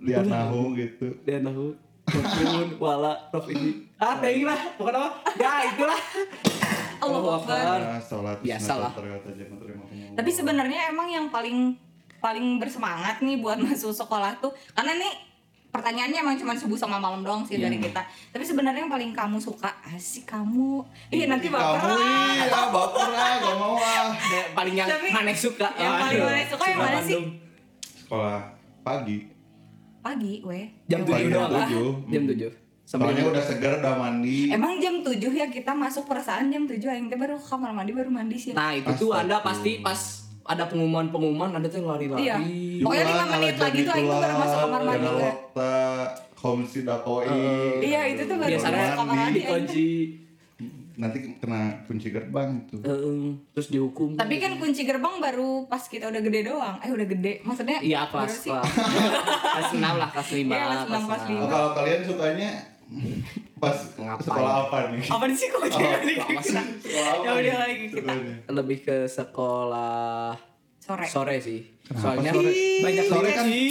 Speaker 1: Lihat nahu gitu.
Speaker 2: dan aku Kepun, wala, rof ini Ah, teuing lah, bukan apa Ya, itulah
Speaker 3: Allah
Speaker 2: Allah
Speaker 3: Akbar.
Speaker 2: Akbar.
Speaker 1: Nah, sholat
Speaker 2: Biasa lah.
Speaker 1: sunat terkata jangan terima kenyawa.
Speaker 3: Tapi sebenarnya emang yang paling paling bersemangat nih buat masuk sekolah tuh karena nih pertanyaannya emang cuma subuh sama malam
Speaker 2: Iya.
Speaker 3: doang sih dari kita. Tapi sebenarnya yang paling kamu suka asik kamu.
Speaker 2: Iya,
Speaker 3: Ih nanti baper.
Speaker 1: kamu
Speaker 3: lah.
Speaker 1: iya baper lah gak mau ah
Speaker 2: Ya, Paling yang
Speaker 3: Tapi-
Speaker 2: aneh suka
Speaker 3: yang
Speaker 2: Aduh.
Speaker 3: paling aneh suka yang
Speaker 2: Suka
Speaker 3: mana sih?
Speaker 2: Bandung.
Speaker 1: sekolah pagi
Speaker 3: Pagi, weh.
Speaker 2: Jam
Speaker 1: Pagi
Speaker 2: 7 doang
Speaker 1: jam
Speaker 2: lah.
Speaker 1: tujuh. Hmm.
Speaker 2: Jam 7
Speaker 1: soalnya udah segar udah mandi
Speaker 3: Emang jam 7 ya kita masuk perasaan jam 7 aing teh baru ke kamar mandi baru mandi sih.
Speaker 2: Nah itu tuh anda pasti pas ada pengumuman-pengumuman anda tuh lari-lari.
Speaker 3: Iya.
Speaker 2: Oh,
Speaker 3: Pokoknya lima menit lagi tuh Aing tuh baru masuk kamar mandi gue.
Speaker 1: waktu komisi dakoi
Speaker 3: iya, itu tuh baru
Speaker 2: biasanya
Speaker 3: masuk kamar mandi.
Speaker 2: dikunci,
Speaker 1: nanti kena kunci gerbang tuh
Speaker 2: eh, terus dihukum.
Speaker 3: Tapi kan kunci gerbang baru pas kita udah gede doang. Eh udah gede. Maksudnya
Speaker 2: Iya
Speaker 3: baru
Speaker 2: kelas
Speaker 3: sih.
Speaker 2: kelas kelas enam lah kelas lima
Speaker 3: Iya, kelas enam, kelas
Speaker 1: Oh,
Speaker 3: lima.
Speaker 1: kalau kalian sukanya pas
Speaker 2: Ngapain?
Speaker 1: sekolah apa nih
Speaker 3: Apa sih kok jadi balik
Speaker 2: enam. Oh, Kelas enam.
Speaker 1: sekolah apa
Speaker 3: Oh, Ya udah
Speaker 1: nih
Speaker 3: lagi kita.
Speaker 1: sukanya?
Speaker 2: Lebih ke sekolah
Speaker 3: sore?
Speaker 2: sore sih.
Speaker 1: Kenapa
Speaker 2: Soalnya
Speaker 1: sore?
Speaker 2: banyak
Speaker 1: Sore kan-
Speaker 2: sih.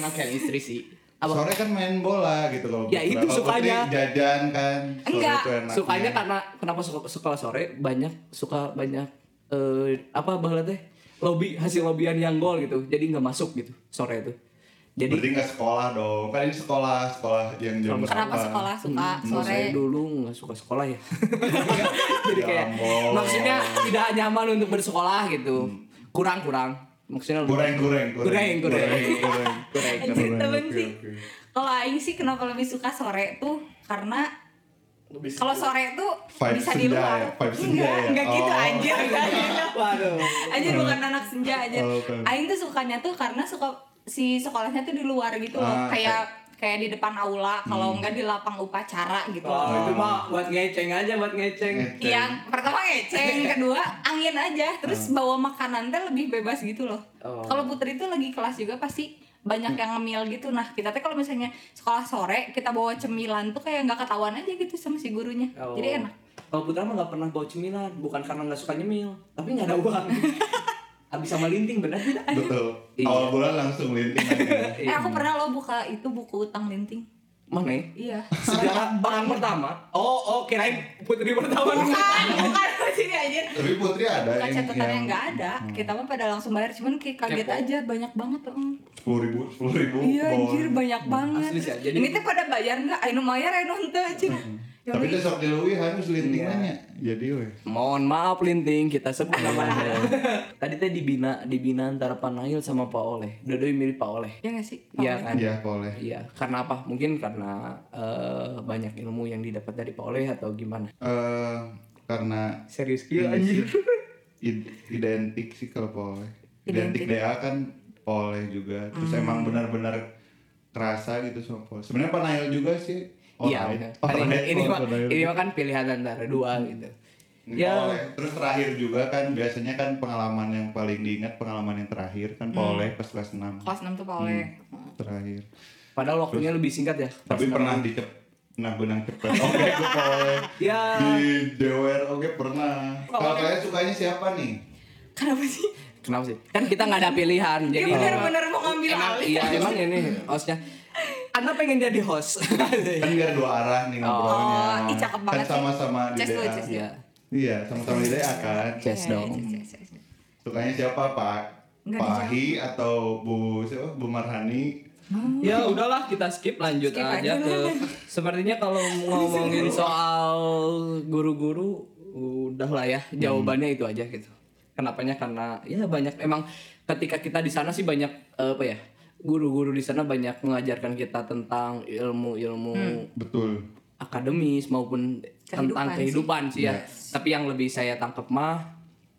Speaker 2: Enak yang istri sih. Apa?
Speaker 1: sore kan main bola gitu kalau
Speaker 2: Ya, itu
Speaker 1: Kalau putri
Speaker 2: sukanya.
Speaker 1: jajan kan sore
Speaker 3: Enggak.
Speaker 1: tuh enaknya.
Speaker 2: Sukanya kan karena kenapa suka sekolah sore banyak suka banyak eh, apa bahasa teh lobby hasil lobbyan yang gol gitu. Jadi nggak masuk gitu sore itu. Jadi
Speaker 1: berarti nggak sekolah dong kan ini sekolah sekolah yang jam
Speaker 3: Kenapa
Speaker 1: berapa.
Speaker 3: sekolah suka
Speaker 2: Kalau
Speaker 3: sore?
Speaker 2: saya dulu nggak suka sekolah ya. Jadi kayak
Speaker 1: Ya ampun.
Speaker 2: maksudnya tidak nyaman untuk bersekolah gitu. Kurang-kurang. Maksudnya lebih-
Speaker 1: goreng goreng
Speaker 2: Goreng, goreng.
Speaker 1: goreng goreng
Speaker 3: Anjir, temen
Speaker 1: Oke,
Speaker 3: sih.
Speaker 1: oke.
Speaker 3: Kalau Aing sih kenapa lebih suka sore tuh karena kalau sore tuh
Speaker 1: Vibe
Speaker 3: bisa
Speaker 1: senja
Speaker 3: di luar.
Speaker 1: ya, vibe senja
Speaker 3: enggak,
Speaker 1: ya?
Speaker 3: enggak gitu
Speaker 1: Oh.
Speaker 3: anjir, enggak gitu.
Speaker 2: Waduh.
Speaker 3: Anjir bukan anak senja aja.
Speaker 1: Oh, bukan.
Speaker 3: Aing tuh sukanya tuh karena suka si sekolahnya tuh di luar gitu loh,
Speaker 1: Ah,
Speaker 3: kayak kayak di depan aula kalau enggak di lapang upacara gitu
Speaker 2: Wah,
Speaker 3: loh.
Speaker 2: itu mah buat ngeceng aja buat ngeceng.
Speaker 1: Ngeceng.
Speaker 3: Yang pertama ngeceng, kedua angin aja, terus bawa makanan teh lebih bebas gitu loh.
Speaker 2: Oh.
Speaker 3: Kalau Putri tuh lagi kelas juga pasti banyak yang ngemil gitu. Nah kita teh kalau misalnya sekolah sore kita bawa cemilan tuh kayak nggak ketahuan aja gitu sama si gurunya.
Speaker 2: Oh.
Speaker 3: Jadi enak.
Speaker 2: Kalau Putra mah nggak pernah bawa cemilan, bukan karena nggak suka nyemil, tapi nggak ada uang. Habis sama linting benar tidak?
Speaker 1: betul
Speaker 2: Iya.
Speaker 1: awal bulan langsung linting aja.
Speaker 3: Eh aku pernah loh buka itu buku utang linting.
Speaker 2: Mana? ya?
Speaker 3: Iya.
Speaker 2: Sejarah orang pertama. Oh, oh kirain putri pertama.
Speaker 3: Bukan, bukan sini aja.
Speaker 1: tapi putri ada
Speaker 3: Bukan catatan yang nggak
Speaker 1: yang
Speaker 3: ada. Kita mah pada langsung bayar, cuman kayak
Speaker 2: Hmm.
Speaker 3: kaget
Speaker 2: Kepo. Oh,
Speaker 3: aja banyak banget tuh.
Speaker 1: sepuluh ribu sepuluh ribu
Speaker 3: Iya
Speaker 1: bon.
Speaker 3: anjir banyak banget.
Speaker 2: Hmm, Asli sih, ya. jadi- Hmm,
Speaker 3: Ini teh pada bayar nggak? Ayo bayar, ayo henteu cina. Ya
Speaker 1: tapi
Speaker 3: udah.
Speaker 1: besok di Lewi harus linting nanya Iya. jadi weh
Speaker 2: Mohon maaf Linting, kita sebut nama Anda. Tadi teh dibina dibina antara Pak Nail sama Pak Oleh. Dodoy milih Pak Oleh.
Speaker 3: Ya nggak sih?
Speaker 2: Iya kan?
Speaker 1: iya boleh
Speaker 2: Iya. Karena apa? Mungkin karena eh, banyak ilmu yang didapat dari Pak Oleh atau gimana?
Speaker 1: Eh, karena
Speaker 2: Serius iya,
Speaker 1: ini
Speaker 2: gila anjir.
Speaker 1: sih, id- identik sih kalau poleh
Speaker 3: Identik.
Speaker 1: identik DA kan poleh juga terus
Speaker 2: Hmm.
Speaker 1: emang benar-benar kerasa gitu sama poleh sebenarnya Panail juga sih
Speaker 2: Iya.
Speaker 1: poleh.
Speaker 2: Kan
Speaker 1: Poleh,
Speaker 2: ini, ini, mah,
Speaker 1: poleh.
Speaker 2: ini mah kan pilihan antara dua gitu.
Speaker 1: Hmm.
Speaker 2: Ya.
Speaker 1: Poleh. Terus terakhir juga kan biasanya kan pengalaman yang paling diingat pengalaman yang terakhir
Speaker 2: Hmm.
Speaker 1: kan poleh pas kelas 6
Speaker 3: kelas 6 tuh pole
Speaker 1: terakhir.
Speaker 2: Padahal waktunya lebih singkat ya.
Speaker 1: Tapi
Speaker 2: Pas
Speaker 1: pernah
Speaker 2: nama.
Speaker 1: dicep nah benang cepet oke ke poleh
Speaker 2: Ya.
Speaker 1: di DWR oke pernah kalau
Speaker 3: Poleh.
Speaker 1: kalian sukanya siapa nih
Speaker 3: kenapa sih
Speaker 2: Kenapa sih? Kan kita nggak ada pilihan.
Speaker 3: dia
Speaker 2: Jadi
Speaker 3: bener-bener mau ngambil
Speaker 2: emang,
Speaker 3: alih
Speaker 2: iya emang ini hostnya. Anda pengen jadi host. Eh.
Speaker 1: kan biar dua arah nih ngobrolnya
Speaker 3: Oh, ih, cakep
Speaker 1: kan
Speaker 3: banget sih.
Speaker 1: sama-sama di
Speaker 3: Chess dulu,
Speaker 1: DA
Speaker 3: chess dulu.
Speaker 2: Iya.
Speaker 1: iya sama-sama di DA kan
Speaker 2: Chess
Speaker 3: Iya,
Speaker 2: dong.
Speaker 3: iya, iya, iya, iya.
Speaker 1: sukanya siapa Pak
Speaker 3: Nggak
Speaker 1: Pak
Speaker 3: dijawab.
Speaker 1: Hi atau Bu siapa Bu Marhani
Speaker 2: Ya udahlah kita skip lanjut
Speaker 3: Skip
Speaker 2: aja
Speaker 3: aja.
Speaker 2: ke sepertinya kalau ngomongin soal guru-guru udahlah ya jawabannya itu aja gitu. Kenapanya karena ya banyak emang ketika kita di sana sih banyak eh, apa ya guru-guru di sana banyak mengajarkan kita tentang ilmu-ilmu
Speaker 1: betul
Speaker 2: akademis maupun tentang
Speaker 3: Hmm. Kehidupan sih.
Speaker 2: kehidupan sih, ya. Tapi yang lebih saya tangkap mah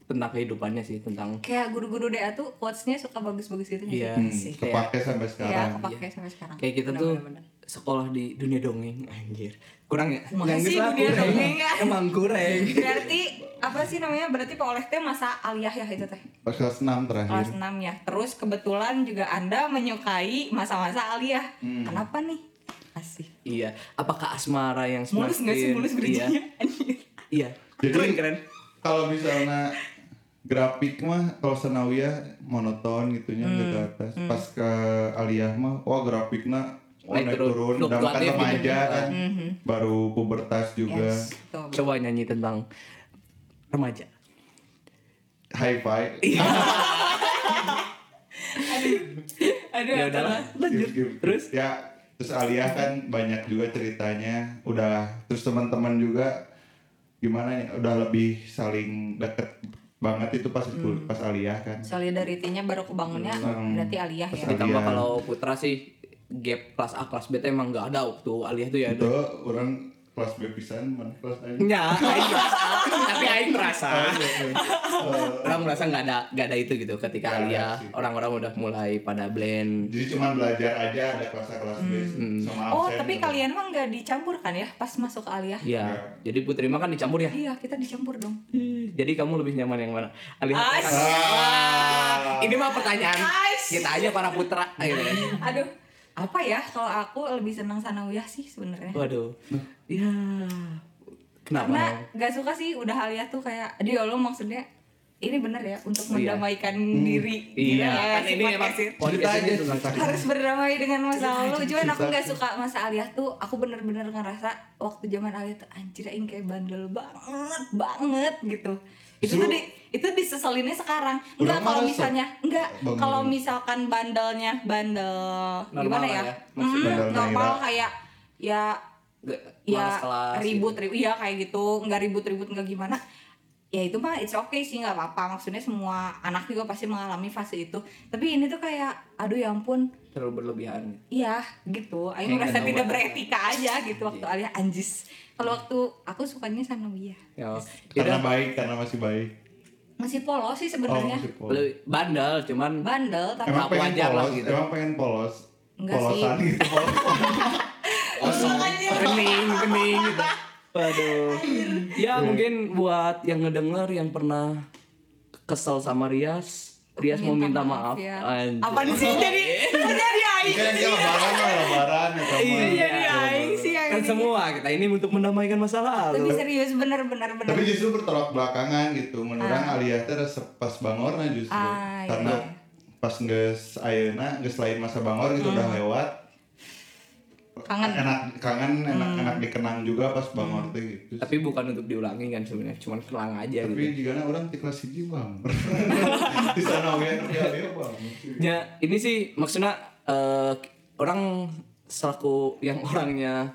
Speaker 2: tentang kehidupannya sih tentang
Speaker 3: kayak guru-guru DA tuh quotes-nya suka bagus-bagus gitu nggak sih?
Speaker 2: Iya.
Speaker 1: Hmm,
Speaker 2: Sih, kayak-
Speaker 1: kepake sampai
Speaker 3: Iya,
Speaker 1: sekarang
Speaker 3: kepake sampai sekarang.
Speaker 2: kayak kita
Speaker 3: Bener,
Speaker 2: tuh
Speaker 3: bener, bener.
Speaker 2: sekolah di dunia dongeng anjir kurang ya
Speaker 3: Kumaha
Speaker 2: Nggak
Speaker 3: sih
Speaker 2: ngerti lah,
Speaker 3: dunia
Speaker 2: kurang.
Speaker 3: dongeng, ya?
Speaker 2: emang kurang
Speaker 3: Berarti apa sih namanya? Berarti Pak Oleh teh masa aliyah ya itu teh.
Speaker 1: pas kelas 6 terakhir
Speaker 3: Kelas
Speaker 2: Iya.
Speaker 3: 6 ya. Terus kebetulan juga Anda menyukai masa-masa aliyah.
Speaker 2: Hmm.
Speaker 3: Kenapa nih? Asih.
Speaker 2: iya apakah asmara yang
Speaker 3: Mulus nggak sih
Speaker 2: semakin-
Speaker 3: mulus
Speaker 2: iya
Speaker 3: gerejanya? Anjir.
Speaker 2: iya
Speaker 1: Jadi-
Speaker 2: keren keren
Speaker 1: kalau misalnya grafik mah kalau senawiyah monoton gitunya
Speaker 2: Hmm.
Speaker 1: nggak ke atas pas ke aliyah mah wah grafiknya wah,
Speaker 2: Naik
Speaker 1: naik
Speaker 2: turun.
Speaker 1: turun
Speaker 2: Fluktuatif
Speaker 1: udah kan
Speaker 2: gitu.
Speaker 1: remaja kan
Speaker 2: Mm-hmm.
Speaker 1: baru pubertas juga
Speaker 3: Yes. Tuh.
Speaker 2: coba nyanyi tentang remaja
Speaker 1: high five
Speaker 2: Iya,
Speaker 3: Aduh,
Speaker 2: ya
Speaker 3: aduh.
Speaker 2: udahlah lanjut
Speaker 1: Skip, skip.
Speaker 2: terus
Speaker 1: ya terus Alia kan banyak juga ceritanya udah terus teman-teman juga gimana ya udah lebih saling deket banget itu pas
Speaker 2: Hmm.
Speaker 1: kul- pas Alia kan
Speaker 3: Solidaritinya baru kebangunnya
Speaker 1: Hmm.
Speaker 3: berarti aliyah ya.
Speaker 1: Pas-
Speaker 2: ditambah
Speaker 1: Iya.
Speaker 2: kalau putra sih gap kelas A kelas B tuh emang nggak ada waktu alih tuh ya
Speaker 1: itu orang kelas B pisan mana kelas A Iya,
Speaker 2: Nya, aing merasa, tapi aing merasa.
Speaker 1: Eh,
Speaker 2: Orang merasa nggak ada nggak ada itu gitu
Speaker 1: Nggak
Speaker 2: ketika
Speaker 1: ada
Speaker 2: Alia
Speaker 1: sih.
Speaker 2: orang-orang udah mulai pada blend.
Speaker 1: jadi cuman belajar aja ada kelas A kelas B sama
Speaker 3: Oh,
Speaker 1: absen
Speaker 3: tapi
Speaker 1: gitu.
Speaker 3: kalian mah nggak dicampurkan ya pas masuk ke aliyah?
Speaker 2: Iya. Jadi Putri mah kan dicampur ya.
Speaker 3: Iya, kita dicampur dong.
Speaker 2: Jadi kamu lebih nyaman yang mana? Alia.
Speaker 3: Ah,
Speaker 2: atau Kakak?
Speaker 1: Ah.
Speaker 2: Wah, ini mah pertanyaan
Speaker 3: Guys.
Speaker 2: kita aja para putra. Ayo, ya.
Speaker 3: Aduh, apa ya kalau aku lebih senang sanawiyah sih sebenarnya.
Speaker 2: Waduh. Ya. Kenapa?
Speaker 3: Karena gak suka sih udah aliyah tuh kayak dia lo maksudnya ini bener ya
Speaker 2: Oh,
Speaker 3: untuk
Speaker 2: iya.
Speaker 3: mendamaikan diri. Gila
Speaker 2: Iya,
Speaker 3: ya,
Speaker 2: kan
Speaker 3: si
Speaker 2: ini emang
Speaker 3: podcast ini.
Speaker 1: cerita
Speaker 2: podcast
Speaker 1: aja
Speaker 2: ini tentang
Speaker 1: cerita.
Speaker 3: harus berdamai dengan masa
Speaker 1: Iya,
Speaker 3: lalu cuman aku nggak suka masa aliyah tuh aku bener-bener ngerasa waktu zaman aliyah tuh anjir aing kayak bandel banget banget gitu itu
Speaker 1: Justru-
Speaker 3: tuh di- itu diseselinnya sekarang
Speaker 1: Udah
Speaker 3: enggak kalau
Speaker 1: marah,
Speaker 3: misalnya enggak
Speaker 1: Bang.
Speaker 3: kalau misalkan bandelnya bandel
Speaker 2: Normal
Speaker 3: gimana
Speaker 2: lah
Speaker 3: ya,
Speaker 2: ya, masih
Speaker 3: Mm,
Speaker 1: bandel
Speaker 3: normal
Speaker 1: Naira.
Speaker 3: kayak ya
Speaker 2: Nggak- malas
Speaker 3: ya
Speaker 2: kelas, gitu.
Speaker 3: ribut ribut iya kayak gitu nggak ribut ribut nggak gimana ya itu mah it's okay sih nggak apa-apa maksudnya semua anak juga pasti mengalami fase itu tapi ini tuh kayak aduh ya ampun
Speaker 2: Terlalu berlebihan.
Speaker 3: Iya gitu, Aing
Speaker 2: Kayak
Speaker 3: merasa
Speaker 2: nggak tahu
Speaker 3: tidak
Speaker 2: apa.
Speaker 3: beretika aja gitu waktu alia anjis. Kalau waktu aku sukanya sanawiyah.
Speaker 2: Ya.
Speaker 1: karena
Speaker 2: Udah,
Speaker 1: baik karena masih baik
Speaker 3: Masih polos sih
Speaker 1: oh
Speaker 3: sebenarnya.
Speaker 1: masih polos
Speaker 2: lebih bandel cuman
Speaker 3: Bandel tapi
Speaker 1: emang
Speaker 2: Aku
Speaker 1: pengen
Speaker 2: wajar lah
Speaker 1: polos
Speaker 2: gitu.
Speaker 1: emang pengen polos
Speaker 3: Enggak sih. Iya,
Speaker 1: polosan gitu polos
Speaker 2: bening bening gitu waduh
Speaker 1: Iya.
Speaker 2: ya mungkin buat yang ngedenger yang pernah kesel sama Rias Rias mau minta maaf,
Speaker 3: ya.
Speaker 2: Anjir.
Speaker 3: Apaan sih jadi jadi aing.
Speaker 1: kan dia lebaran lah lebaran ya sama
Speaker 2: Iya.
Speaker 3: Jadi aing sih yang
Speaker 2: kan
Speaker 3: ini.
Speaker 2: semua kita ini untuk mendamaikan masalah
Speaker 3: Tapi serius bener-bener bener.
Speaker 1: tapi justru bertolak belakangan gitu menurang Alia teh resep pas bangorna justru
Speaker 3: Ah,
Speaker 1: karena
Speaker 3: iya. Hmm.
Speaker 1: pas nges ayeuna nges lain masa bangor gitu udah lewat
Speaker 3: Kangen. Hmm.
Speaker 1: enak kangen enak enak dikenang juga pas bangor teh gitu
Speaker 2: tapi bukan untuk diulangi kan sebenarnya cuman kelang aja
Speaker 1: tapi
Speaker 2: gitu
Speaker 1: jika orang di kelas hiji bang di sana we tapi Alia bang
Speaker 2: ya ini sih maksudnya eh, orang selaku yang orangnya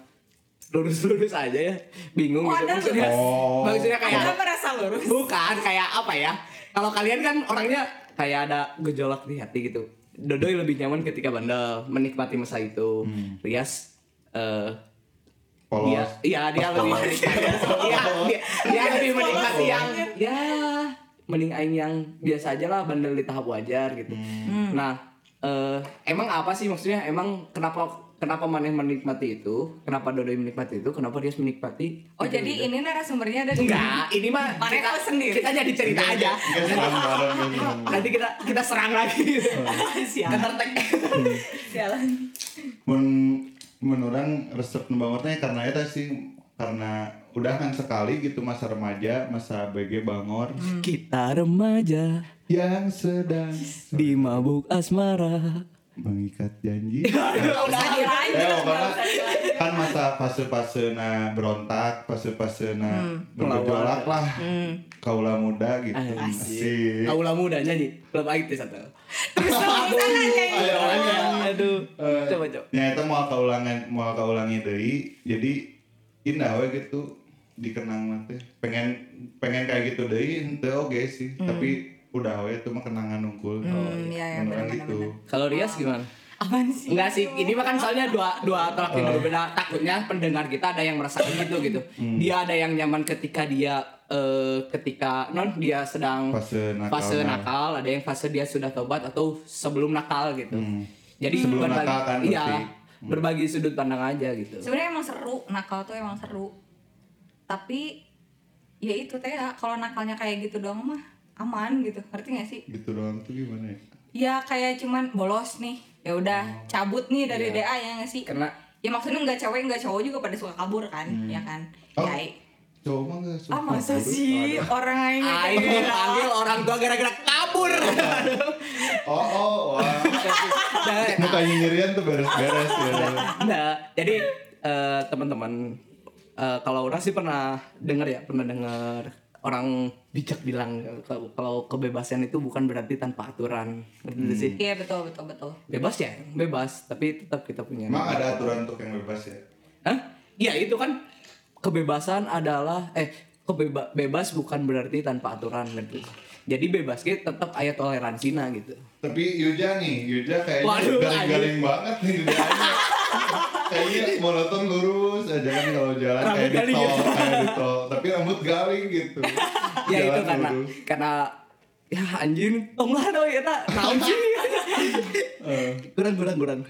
Speaker 2: lurus-lurus aja ya bingung
Speaker 3: Oh,
Speaker 2: gitu
Speaker 3: ada
Speaker 2: maksudnya
Speaker 1: lurus.
Speaker 2: maksudnya
Speaker 1: Iya.
Speaker 2: kayak
Speaker 3: Anda merasa lurus.
Speaker 2: Bukan kayak apa ya? Kalau kalian kan orangnya kayak ada gejolak di hati gitu. Dodoy lebih nyaman ketika bandel, menikmati masa itu. Rias eh
Speaker 1: Hmm. polos
Speaker 2: dia iya dia lebih menikmati. Iya, dia, dia lebih menikmati yang ya mending aing yang biasa aja lah
Speaker 1: Hmm.
Speaker 2: bandel di tahap wajar gitu. Nah, eh emang apa sih maksudnya? Emang kenapa kenapa maneh menikmati itu, kenapa Dodoi menikmati itu, kenapa dia menikmati?
Speaker 3: Oh
Speaker 2: itu
Speaker 3: jadi
Speaker 1: Iya.
Speaker 2: juga.
Speaker 3: ini narasumbernya ada di
Speaker 2: enggak, ini mah
Speaker 3: Maneh
Speaker 2: kita-
Speaker 3: tahu sendiri.
Speaker 2: Kita jadi cerita aja.
Speaker 1: Kita serang bareng gitu. ini.
Speaker 2: Nanti kita kita serang lagi.
Speaker 3: Oh, Sialan. Sialan.
Speaker 1: Mun mun urang resep nu bangor teh karena eta sih karena udah kan sekali gitu masa remaja, masa BG bangor
Speaker 3: Hmm.
Speaker 2: kita remaja
Speaker 1: yang sedang
Speaker 2: di mabuk asmara.
Speaker 1: mengikat janji.
Speaker 2: Udah
Speaker 3: Nggak
Speaker 2: aja.
Speaker 1: Eh,
Speaker 3: dilanjut, nggak
Speaker 1: banget.
Speaker 3: usah dilanjut.
Speaker 1: iya. kan masa fase-fase na berontak, fase-fase
Speaker 3: Hmm.
Speaker 1: na bergejolak
Speaker 2: Melawan.
Speaker 1: lah. Kaula muda gitu.
Speaker 2: Asik.
Speaker 1: Asik.
Speaker 2: Aula muda nyanyi. Belum aik tuh satu.
Speaker 3: Terus lu sana nyanyi.
Speaker 1: Ayo, ayo.
Speaker 2: Aduh.
Speaker 1: Eh,
Speaker 2: Coba coba.
Speaker 1: Ya itu mau kaulangan mau kaulangi deui. Jadi indah we gitu dikenang mah teh. Pengen pengen kayak gitu deui henteu oge sih, tapi udah we itu mah kenangan unggul.
Speaker 3: Hmm, iya, iya,
Speaker 1: Beneran
Speaker 3: benar,
Speaker 1: gitu.
Speaker 2: Kalau Rias gimana?
Speaker 3: Apaan sih?
Speaker 2: Enggak sih, ini mah kan soalnya dua dua tolak yang
Speaker 1: Oh.
Speaker 2: berbeda. Takutnya pendengar kita ada yang merasakan gitu gitu.
Speaker 1: Hmm.
Speaker 2: Dia ada yang nyaman ketika dia eh, ketika non dia sedang
Speaker 1: Fase nakal. nah.
Speaker 2: fase nakal, ada yang fase dia sudah tobat atau sebelum nakal gitu. Jadi
Speaker 1: Hmm. Sebelum
Speaker 2: berbagi,
Speaker 1: nakal kan
Speaker 2: iya,
Speaker 1: berarti.
Speaker 2: berbagi sudut pandang aja gitu.
Speaker 3: Sebenarnya emang seru, nakal tuh emang seru. Tapi ya itu teh ya, kalau nakalnya kayak gitu doang mah aman gitu. Ngerti gak sih?
Speaker 1: Gitu doang tuh gimana ya?
Speaker 3: Ya kayak cuman bolos nih. Ya
Speaker 1: Oh,
Speaker 3: udah cabut nih dari
Speaker 2: Iya.
Speaker 3: DA ya gak sih?
Speaker 2: Karena
Speaker 3: Ya maksudnya nggak cewek nggak cowok juga pada suka kabur kan, ya kan?
Speaker 1: Oh.
Speaker 3: Ya,
Speaker 1: Cowok mah gak suka. gitu.
Speaker 3: ah masa
Speaker 1: Aduh,
Speaker 3: sih
Speaker 1: aduh.
Speaker 3: orang aing
Speaker 2: Ayo
Speaker 3: kayak gitu.
Speaker 2: panggil orang tua gara-gara kabur.
Speaker 1: Oh, oh, wah.
Speaker 2: Jangan-
Speaker 1: Muka nyirian tuh beres-beres ya.
Speaker 2: Nah, jadi eh, teman-teman eh, kalau orang sih pernah dengar ya, pernah dengar orang bijak bilang kalau- kalau kebebasan itu bukan berarti tanpa aturan. Ngerti nggak sih?
Speaker 3: Iya betul betul betul.
Speaker 2: Bebas ya, bebas, tapi tetap kita punya.
Speaker 1: Emang ada aturan untuk yang bebas ya?
Speaker 2: Hah? Ya itu kan kebebasan adalah eh kebeba bebas bukan berarti tanpa aturan gitu. Jadi bebas kita tetap ayat toleransinya gitu.
Speaker 1: Tapi Yuja nih, Yuja
Speaker 2: Waduh,
Speaker 1: kayaknya garing-garing banget nih lidahnya. Kayaknya monoton lurus aja kan kalau jalan
Speaker 2: Rambut
Speaker 1: kayak di
Speaker 2: garing
Speaker 1: tol,
Speaker 2: gitu.
Speaker 1: kayak di tol. Tapi rambut garing gitu.
Speaker 2: ya itu
Speaker 1: Jalan
Speaker 2: karena
Speaker 1: lurus.
Speaker 2: karena ya anjing tong lah doi eta naon sih Nah, kurang kurang kurang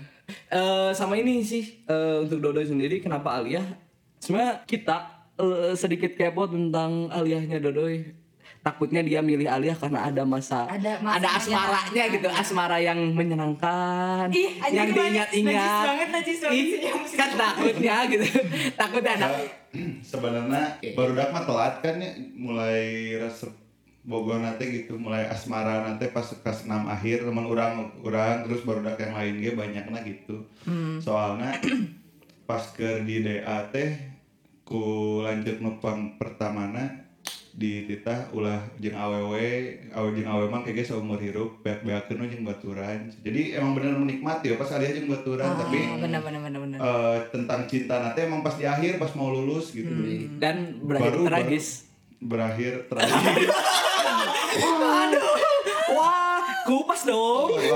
Speaker 2: Eh, sama ini sih eh, untuk Dodo sendiri kenapa Alia sebenarnya kita eh, sedikit kepo tentang Aliahnya Dodoy takutnya dia milih Alia karena ada masa
Speaker 3: Ada masa
Speaker 2: ada asmaranya
Speaker 3: menyenangkan.
Speaker 2: gitu asmara yang menyenangkan
Speaker 3: Ih, anjing
Speaker 2: yang
Speaker 3: gimana? Najis
Speaker 2: diingat-ingat
Speaker 3: banget, najis banget
Speaker 2: Ih,
Speaker 3: sih, yang musik.
Speaker 2: kan takutnya gitu takutnya ada
Speaker 1: Nah, Sebenarnya baru mah telat kan ya mulai resep Bogor nanti gitu mulai asmara nanti pas kelas 6 akhir teman orang orang terus baru yang lain ge banyaknya gitu soalnya pas ke di DA teh ku lanjut nupang pertamana di titah ulah jeung awewe awe jeung awewe mah kayak seumur hirup beak-beakeun we jeung baturan jadi emang bener menikmati ya pas ada jeung baturan tapi
Speaker 3: Ah, benar benar benar benar.
Speaker 1: eh, tentang cinta nanti emang pas di akhir pas mau lulus gitu
Speaker 2: dan Hmm. berakhir
Speaker 1: Baru-
Speaker 2: tragis
Speaker 1: baru berakhir tragis
Speaker 2: Aduh. Wah, kupas dong.
Speaker 1: Eh,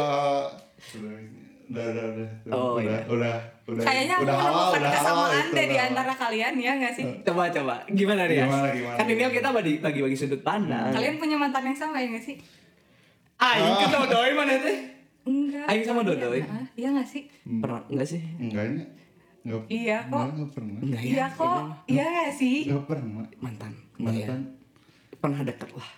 Speaker 1: udah udah udah udah
Speaker 2: Oh,
Speaker 1: udah,
Speaker 2: iya.
Speaker 1: udah udah
Speaker 3: Kayaknya aku
Speaker 1: udah halal
Speaker 3: menemukan
Speaker 1: udah halal
Speaker 3: kesamaan
Speaker 1: itu,
Speaker 3: deh di
Speaker 1: udah Eh. halal.
Speaker 3: antara kalian ya nggak sih?
Speaker 2: Coba coba. Gimana Rias?
Speaker 1: Gimana, gimana? Hmm.
Speaker 2: Kan ini kita bagi bagi bagi sudut pandang. ah,
Speaker 3: Kalian punya mantan yang sama ya nggak sih?
Speaker 1: Ah.
Speaker 2: Aing ke Dodoy mana teh?
Speaker 3: Enggak.
Speaker 2: Aing sama Dodoy.
Speaker 3: Ah, Iya nggak sih?
Speaker 1: Hmm.
Speaker 2: Pernah enggak sih?
Speaker 1: enggaknya enggak
Speaker 3: Iya, kok.
Speaker 1: enggak, enggak pernah
Speaker 2: Enggak ya.
Speaker 3: Iya kok. Iya nggak sih?
Speaker 1: enggak pernah
Speaker 2: Mantan. Mantan.
Speaker 1: mantan
Speaker 2: Pernah deket lah.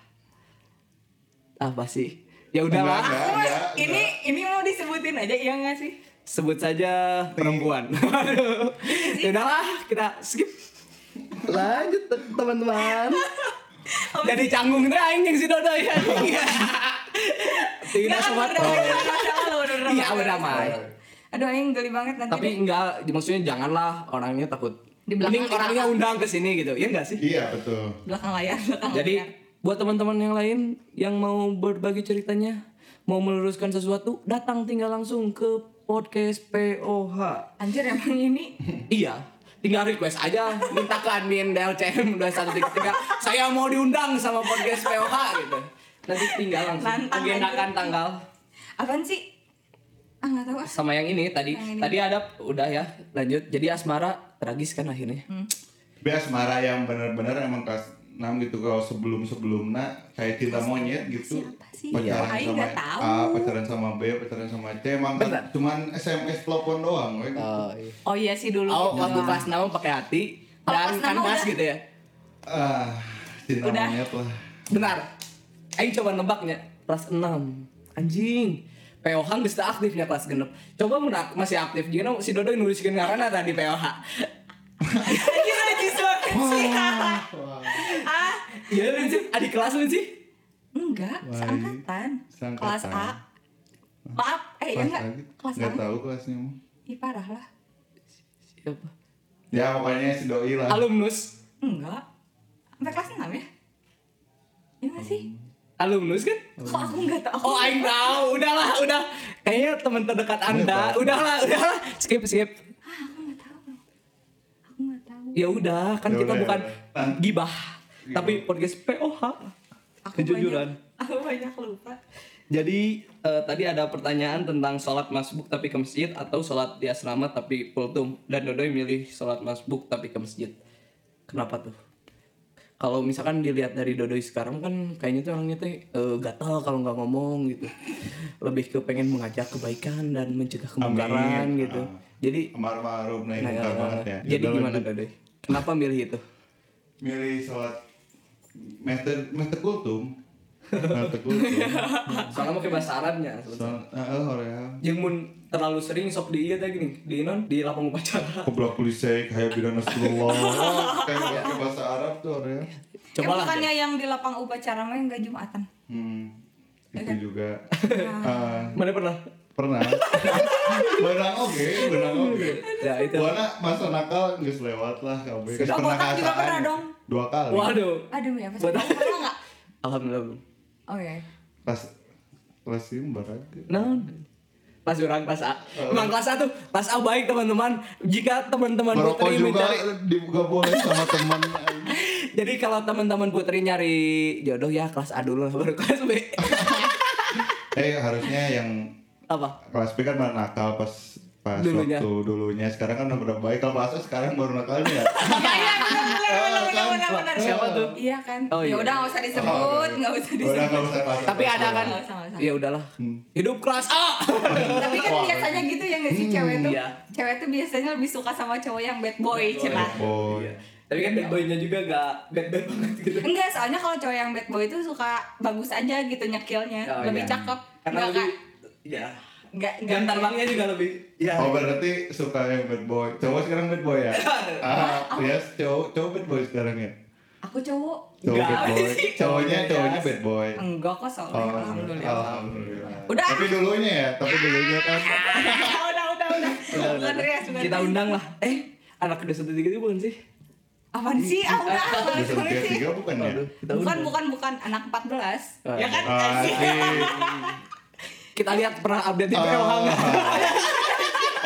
Speaker 2: Apa sih? Ya
Speaker 1: enggak
Speaker 2: udahlah.
Speaker 1: enggak enggak
Speaker 3: Ini ini mau disebutin aja iya nggak sih?
Speaker 2: Sebut saja perempuan.
Speaker 1: Iya,
Speaker 2: Aduh. ya udahlah, kita skip. Lanjut teman-teman. Jadi canggung deh aing yang si Dodoy anjing. Tidak
Speaker 3: Nggak,
Speaker 2: semua.
Speaker 3: udah, udah, udah, udah, udah, udah,
Speaker 2: Iya,
Speaker 3: udah,
Speaker 2: berdamai.
Speaker 3: udah. Aduh, Aing geli banget nanti.
Speaker 2: tapi enggak maksudnya janganlah orangnya takut
Speaker 3: Dibilang
Speaker 2: mending
Speaker 3: nanti
Speaker 2: orangnya
Speaker 3: takut.
Speaker 2: undang ke sini gitu ya enggak sih
Speaker 1: iya betul
Speaker 3: deh. belakang layar, belakang
Speaker 2: jadi
Speaker 3: layar.
Speaker 2: buat teman-teman yang lain yang mau berbagi ceritanya mau meluruskan sesuatu datang tinggal langsung ke podcast POH
Speaker 3: Anjir emang ini
Speaker 2: iya tinggal request aja minta ke admin DLCM 2133 saya mau diundang sama podcast POH gitu nanti tinggal langsung
Speaker 3: Nantang aja.
Speaker 2: agendakan tanggal
Speaker 3: apaan sih? Ah nggak tahu ah.
Speaker 2: sama yang ini tadi
Speaker 3: Yang ini.
Speaker 2: tadi ada udah ya lanjut jadi asmara tragis kan akhirnya
Speaker 3: Hmm.
Speaker 1: bias marah yang benar-benar emang kelas 6 nam gitu kalau sebelum sebelumnya kayak cinta monyet gitu
Speaker 3: Siapa sih? Iya.
Speaker 1: pacaran
Speaker 3: Aing
Speaker 1: sama
Speaker 3: nggak tahu.
Speaker 1: A pacaran sama B pacaran sama C emang kan
Speaker 2: Bentar.
Speaker 1: cuman SMS telepon doang we.
Speaker 2: Oh, iya.
Speaker 3: Oh iya sih dulu.
Speaker 2: oh
Speaker 3: gitu
Speaker 2: waktu
Speaker 3: lah.
Speaker 2: kelas 6 pakai hati dan
Speaker 3: Kalau kelas
Speaker 2: kan
Speaker 3: enam
Speaker 2: kelas
Speaker 3: udah-
Speaker 2: gitu ya.
Speaker 1: ah cinta
Speaker 3: Udah.
Speaker 1: monyet lah
Speaker 2: Benar. Aing coba nebaknya kelas 6. Anjing. POH geus teu aktifnya kelas genep. Coba mun ak- masih aktif jeung si Dodo nuliskeun ngaranna tadi POH.
Speaker 3: Anjir, anjir, anjir. Iya. Ah,
Speaker 2: Iya lu sih, adik kelas lu sih.
Speaker 3: enggak,
Speaker 1: Wah,
Speaker 3: seangkatan.
Speaker 1: seangkatan.
Speaker 3: Kelas A. Maaf, eh
Speaker 1: kelas
Speaker 3: enggak,
Speaker 2: gitu.
Speaker 1: lagi
Speaker 3: kelas A.
Speaker 1: nggak tahu kelasnya mah.
Speaker 3: Ih, parah lah.
Speaker 2: Siapa?
Speaker 1: ya pokoknya si doi lah
Speaker 2: Alumnus.
Speaker 3: Enggak. Sampai kelas 6 ya? Iya enggak sih?
Speaker 2: Alumnus kan?
Speaker 3: Kok aku enggak tahu?
Speaker 2: Oh, aing tahu. Udahlah, udah. Kayaknya teman terdekat
Speaker 1: Iya,
Speaker 2: Anda. Udahlah, udahlah. Skip, skip.
Speaker 3: Ah, aku enggak tahu. Aku enggak tahu.
Speaker 2: Ya udah, kan
Speaker 1: Ya
Speaker 2: kita
Speaker 1: udah, ya
Speaker 2: bukan
Speaker 1: udah. Iya.
Speaker 2: gibah, tapi podcast POH.
Speaker 3: Aku
Speaker 2: Kejujuran.
Speaker 3: Banyak, aku banyak lupa.
Speaker 2: Jadi eh, tadi ada pertanyaan tentang sholat masbuk tapi ke masjid atau sholat di asrama tapi kultum dan Dodoy milih sholat masbuk tapi ke masjid. Kenapa tuh? Kalau misalkan dilihat dari Dodoy sekarang kan kayaknya tuh orangnya tuh eh, gatal kalau nggak ngomong gitu. Lebih ke pengen mengajak kebaikan dan mencegah kemungkaran
Speaker 1: Amin.
Speaker 2: gitu.
Speaker 1: Ah.
Speaker 2: Jadi
Speaker 1: amar ma'ruf naik
Speaker 3: iya,
Speaker 2: Nah,
Speaker 1: mungkar banget ya
Speaker 2: Jadi
Speaker 1: Yaudah,
Speaker 2: gimana
Speaker 1: lanjut.
Speaker 2: Dodoy? Kenapa milih itu?
Speaker 1: milih sholat method method kultum method kultum
Speaker 2: Soalnya pakai bahasa Arabnya. sebetulnya.
Speaker 1: Soal- ah, eh hoream
Speaker 2: Jeung mun terlalu sering sok di ieu teh gini, di non di lapang upacara.
Speaker 1: Keblak polisi kayak bidan Rasulullah. Kayak pakai bahasa Arab tuh orangnya.
Speaker 2: Coba
Speaker 3: eh,
Speaker 2: lah.
Speaker 3: bukannya yang di lapang upacara mah yang enggak Jumatan.
Speaker 1: Hmm, itu juga. Ah,
Speaker 2: Mana pernah?
Speaker 1: pernah. Benang oke, benang oke.
Speaker 2: Ya itu.
Speaker 1: Warna masa nakal nggak lewat lah kamu.
Speaker 3: Sudah botak juga pernah dong.
Speaker 1: Dua kali.
Speaker 2: Waduh.
Speaker 3: Aduh, ya pasti pernah enggak?
Speaker 2: Alhamdulillah. belum.
Speaker 3: Oke.
Speaker 1: Pas pas ini baraga.
Speaker 2: Naon? Pas orang kelas A. Emang kelas A tuh kelas A baik teman-teman. Jika teman-teman
Speaker 1: Merokok
Speaker 2: putri
Speaker 1: juga
Speaker 2: mencari
Speaker 1: dibuka boleh sama teman.
Speaker 2: Jadi kalau teman-teman putri nyari jodoh ya kelas A dulu lah, baru kelas B.
Speaker 1: Eh harusnya yang
Speaker 2: Apa?
Speaker 1: kelas B kan baru nakal pas pas
Speaker 2: Dulunya.
Speaker 1: waktu dulunya sekarang kan udah baik kalau bahasa sekarang baru ya. nakalnya
Speaker 3: Iya, iya, benar, benar, benar, benar, benar, benar.
Speaker 2: Siapa tuh?
Speaker 3: Iya kan.
Speaker 2: Oh, iya.
Speaker 3: Ya udah enggak usah disebut, enggak usah
Speaker 1: udah nggak
Speaker 3: disebut.
Speaker 1: usah bahasa
Speaker 2: Tapi ada kan.
Speaker 3: Nggak usah, nggak usah.
Speaker 2: Ya udahlah.
Speaker 1: Hmm.
Speaker 2: Hidup kelas A.
Speaker 3: Tapi kan biasanya gitu ya nggak sih cewek tuh?
Speaker 2: Iya.
Speaker 3: Cewek tuh biasanya lebih suka sama cowok yang bad boy, cina.
Speaker 1: boy
Speaker 2: Iya. Tapi kan bad boy-nya juga gak bad bad banget gitu.
Speaker 3: Enggak, soalnya kalau cowok yang bad boy itu suka bagus aja gitu nyekilnya,
Speaker 2: Oh,
Speaker 3: lebih
Speaker 2: iya.
Speaker 3: cakep.
Speaker 2: Karena
Speaker 3: Enggak,
Speaker 2: lebih
Speaker 3: Kak.
Speaker 2: ya
Speaker 3: Enggak, enggak.
Speaker 2: gantar bangnya juga lebih. Ya.
Speaker 3: Iya.
Speaker 1: Oh berarti suka yang bad boy. Cowok sekarang bad boy ya? Ah, yes, cowok cowok bad boy sekarang ya.
Speaker 3: Aku cowok.
Speaker 1: Cowok
Speaker 2: Enggak
Speaker 1: bad boy.
Speaker 2: sih.
Speaker 1: Cowoknya cowoknya
Speaker 2: Yes.
Speaker 1: bad boy.
Speaker 3: Enggak kok soalnya,
Speaker 2: iya.
Speaker 1: Oh,
Speaker 3: alhamdulillah.
Speaker 1: alhamdulillah.
Speaker 3: Udah.
Speaker 1: Tapi dulunya ya, tapi dulunya kan.
Speaker 3: udah, udah, udah. Bukan Rias, bukan
Speaker 2: Kita
Speaker 3: Rias.
Speaker 2: undang lah. Eh, anak kedua satu tiga itu bukan sih?
Speaker 3: Apaan sih? Ah, udah, apaan
Speaker 1: Dosen
Speaker 3: sih?
Speaker 1: tiap tiga bukan ya?
Speaker 2: Aduh, kita
Speaker 3: Bukan,
Speaker 2: undang.
Speaker 3: bukan, bukan. Anak 14.
Speaker 2: Ah.
Speaker 3: Ya kan?
Speaker 1: Asik.
Speaker 2: Kita lihat pernah update di POH nggak?
Speaker 1: Ah.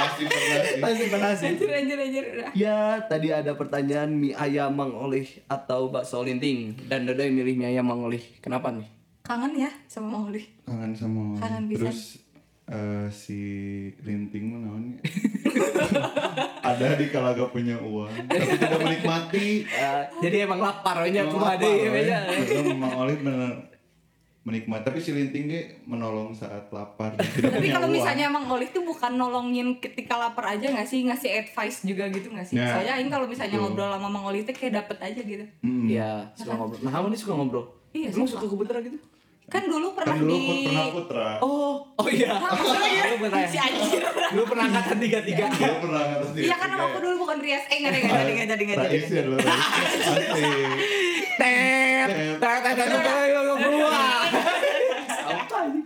Speaker 1: Pasti pernah sih.
Speaker 2: Pasti pernah sih.
Speaker 3: Anjir, anjir, anjir. udah.
Speaker 2: Ya, tadi ada pertanyaan mie ayam mangolih atau bakso linting dan Dodo yang milih mie ayam mangolih. Kenapa nih?
Speaker 3: Kangen ya sama Mauli.
Speaker 1: Kangen sama.
Speaker 3: Kangen pisan.
Speaker 1: Terus eh, si Rinting mah namanya ada di kalaga punya uang tapi tidak menikmati
Speaker 2: Eh, jadi emang lapar nya
Speaker 1: Emang
Speaker 2: cuma
Speaker 1: lapar,
Speaker 2: ada ya,
Speaker 1: woy.
Speaker 2: ya.
Speaker 1: Belum Mang Oli bener menikmati tapi si Linting ge menolong saat lapar Kan dan tidak
Speaker 3: Tapi
Speaker 1: punya
Speaker 3: kalau
Speaker 1: uang.
Speaker 3: misalnya emang Oli tuh bukan nolongin ketika lapar aja nggak sih ngasih advice juga gitu nggak sih?
Speaker 1: Ya.
Speaker 3: Soalnya Aing kalau misalnya ngobrol sama Mang Oli tuh kayak dapet aja gitu.
Speaker 1: Mm.
Speaker 2: Iya, suka ngobrol. Nah, kamu nih suka ngobrol.
Speaker 3: Iya,
Speaker 2: Lu
Speaker 3: suka.
Speaker 2: suka kebetulan gitu?
Speaker 3: Kan dulu
Speaker 1: kan
Speaker 3: pernah
Speaker 1: dulu
Speaker 3: di
Speaker 1: put- pernah putra
Speaker 2: Oh, oh iya. Lu pernah
Speaker 3: si
Speaker 2: ya?
Speaker 3: anjir.
Speaker 2: Lu pernah angkatan tiga-tiga.
Speaker 1: Dulu pernah ngatas
Speaker 3: Iya kan nama aku dulu bukan Rias. Eh nggak ada nggak ada nggak ada nggak ada.
Speaker 1: Rais ya dulu Rais. Asik.
Speaker 2: Tet, tet, tet, tet, tet, tet, keluar. Apa ini?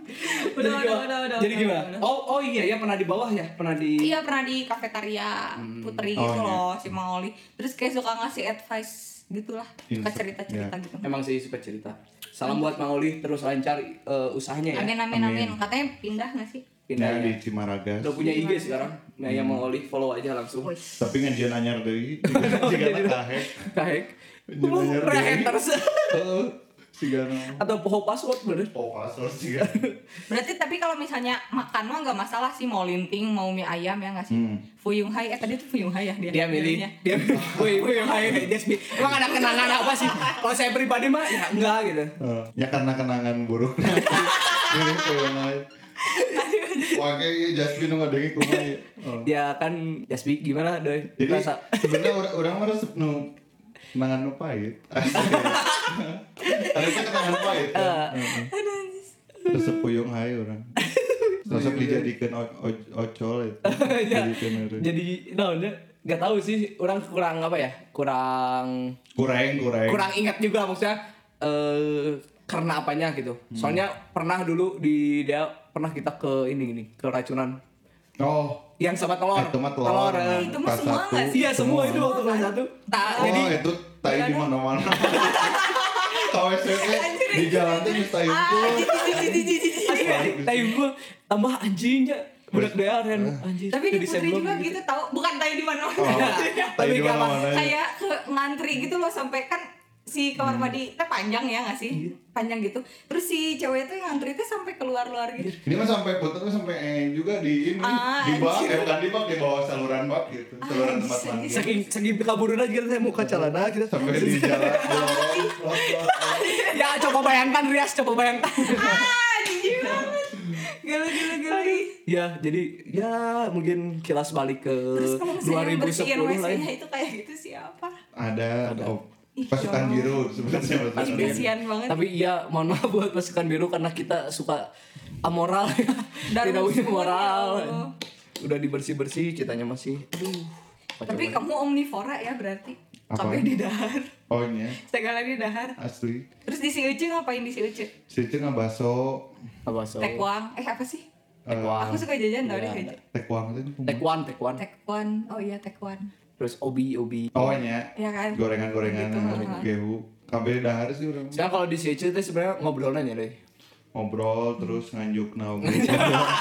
Speaker 3: Udah,
Speaker 2: Jadi
Speaker 3: udah,
Speaker 2: gimana?
Speaker 3: udah, udah,
Speaker 2: Jadi
Speaker 3: udah,
Speaker 2: gimana?
Speaker 3: udah.
Speaker 2: Oh, oh iya ya pernah di bawah ya, pernah di.
Speaker 3: Iya pernah di kafetaria Putri
Speaker 1: Oh,
Speaker 3: gitu
Speaker 1: iya.
Speaker 3: loh si Mang Oli. Terus kayak suka ngasih advice gitulah, suka
Speaker 1: Insight,
Speaker 3: cerita cerita
Speaker 1: iya.
Speaker 3: gitu.
Speaker 2: Emang sih suka cerita. Salam buat Mang Oli terus lancar eh,
Speaker 1: iya.
Speaker 2: usahanya ya.
Speaker 3: Amin amin amin. Katanya pindah nggak sih?
Speaker 1: Pindah Nah, di
Speaker 2: Pindahnya.
Speaker 1: Cimaragas
Speaker 2: ya. Udah punya IG sekarang. Nah, yang Mang Oli follow aja langsung.
Speaker 3: Wih.
Speaker 1: tapi kan ngajian anyar dari jika tak kahe
Speaker 2: Kahek.
Speaker 1: Jadi banyak
Speaker 2: Lu
Speaker 1: deh.
Speaker 2: haters.
Speaker 1: Heeh. si Gano.
Speaker 2: atau poho password bener
Speaker 1: Oh, password si Gano.
Speaker 3: Berarti tapi kalau misalnya makan mah nggak masalah sih mau linting mau mie ayam ya nggak sih?
Speaker 1: Hmm.
Speaker 3: Fuyung Hai eh tadi tuh Fuyung Hai ya dia.
Speaker 2: dia milih
Speaker 3: milihnya.
Speaker 2: dia milih woi woi hai Jasmine emang ada kenangan apa sih kalau saya pribadi mah ya enggak gitu
Speaker 1: Eh, ya karena kenangan buruk nanti. Ini kayak lain. Pakai ya Jasmine nggak dengi kumaha ya. Oh.
Speaker 2: ya kan Jasmine gimana doi
Speaker 1: Jadi
Speaker 2: Rasa-
Speaker 1: sebenarnya orang orang mah resep nu kenangan nu pahit. Harusnya kenangan pahit.
Speaker 3: Ah.
Speaker 1: kan? Heeh. Resep puyung hai orang. Resep dijadikan o- o- ocol itu.
Speaker 3: Iya.
Speaker 2: ya.
Speaker 1: Dijadikan orang.
Speaker 2: jadi naonnya nggak tahu sih orang kurang apa ya kurang
Speaker 1: Kurang kurang.
Speaker 2: kurang ingat juga maksudnya eh karena apanya gitu
Speaker 1: Hmm.
Speaker 2: soalnya pernah dulu di dia pernah kita ke ini gini keracunan
Speaker 1: Oh.
Speaker 2: yang sama telur
Speaker 1: Eh, itu mah telur.
Speaker 2: eh.
Speaker 3: Itu mah
Speaker 1: Pas
Speaker 3: semua
Speaker 1: satu,
Speaker 3: nggak sih?
Speaker 2: iya semua itu waktu kelas satu iya,
Speaker 3: Tak,
Speaker 1: Oh,
Speaker 2: jadi
Speaker 1: itu tai di mana-mana. Kalau SMP di jalan tuh bisa
Speaker 3: Ah,
Speaker 1: itu.
Speaker 2: asli dari time gue iya. tambah anjingnya budak daerah
Speaker 1: Eh.
Speaker 2: anjing
Speaker 3: tapi
Speaker 2: jadi
Speaker 3: di Putri
Speaker 2: sebelum
Speaker 3: juga gitu tahu bukan tadi di mana
Speaker 1: Oh, tai
Speaker 2: Tapi
Speaker 1: di
Speaker 2: nggak
Speaker 1: mana-mana. ya.
Speaker 3: kayak ke ngantri gitu loh sampai kan si kamar mandi teh panjang ya nggak sih panjang gitu terus si cewek tuh yang ngantri tuh sampai keluar luar gitu
Speaker 1: Ini mah sampai puter tuh sampai eh, juga di ini
Speaker 3: Ah,
Speaker 1: di bak,
Speaker 3: anjir.
Speaker 1: eh, bukan di bak di bawah saluran bak gitu, saluran tempat
Speaker 3: anjir.
Speaker 1: mandi.
Speaker 2: saking saking kabur aja kita saya muka celana kita
Speaker 1: Sampai di jalan. di lorong, lorong, lorong.
Speaker 2: ya coba bayangkan Rias coba bayangkan
Speaker 3: ah jijik banget gila gila gila
Speaker 2: ya jadi ya mungkin kilas balik ke
Speaker 3: terus kalau misalnya yang
Speaker 2: 2010
Speaker 3: bersihin
Speaker 2: lah
Speaker 3: WC-nya
Speaker 2: ya.
Speaker 3: itu kayak gitu siapa
Speaker 1: Ada,
Speaker 2: Ada.
Speaker 1: oh,
Speaker 3: ya
Speaker 1: pasukan biru sebenarnya pasukan
Speaker 3: Tapi
Speaker 1: biru.
Speaker 3: kasihan banget
Speaker 2: tapi iya mohon maaf buat pasukan biru karena kita suka amoral
Speaker 3: Darul
Speaker 2: tidak punya
Speaker 3: Usul,
Speaker 2: moral
Speaker 3: ya Allah.
Speaker 2: udah dibersih bersih kitanya masih Iya, aduh kacau
Speaker 3: tapi
Speaker 2: banget.
Speaker 3: kamu omnivora ya berarti
Speaker 1: Apa?
Speaker 3: kabeh di dahar
Speaker 1: Oh iya,
Speaker 3: segala di dahar
Speaker 1: asli.
Speaker 3: terus di si Ucu ngapain di si Ucu
Speaker 1: Situ nggak baso,
Speaker 2: apa so
Speaker 3: tekwang eh apa sih
Speaker 2: tekwan
Speaker 3: aku suka jajan tau
Speaker 2: Iya,
Speaker 3: deh
Speaker 2: ada.
Speaker 1: tekuang itu.
Speaker 2: tekwan tekwan
Speaker 3: tekwan oh iya tekwan
Speaker 2: terus obi obi
Speaker 1: Oh iya,
Speaker 3: Iya kan?
Speaker 1: gorengan-gorengan,
Speaker 3: Gitu,
Speaker 1: gehu. Kabeh dahar sih orang.
Speaker 2: sekarang kalau di CC itu sebenarnya ngobrolnya ya deh
Speaker 1: ngobrol terus nganjuk nah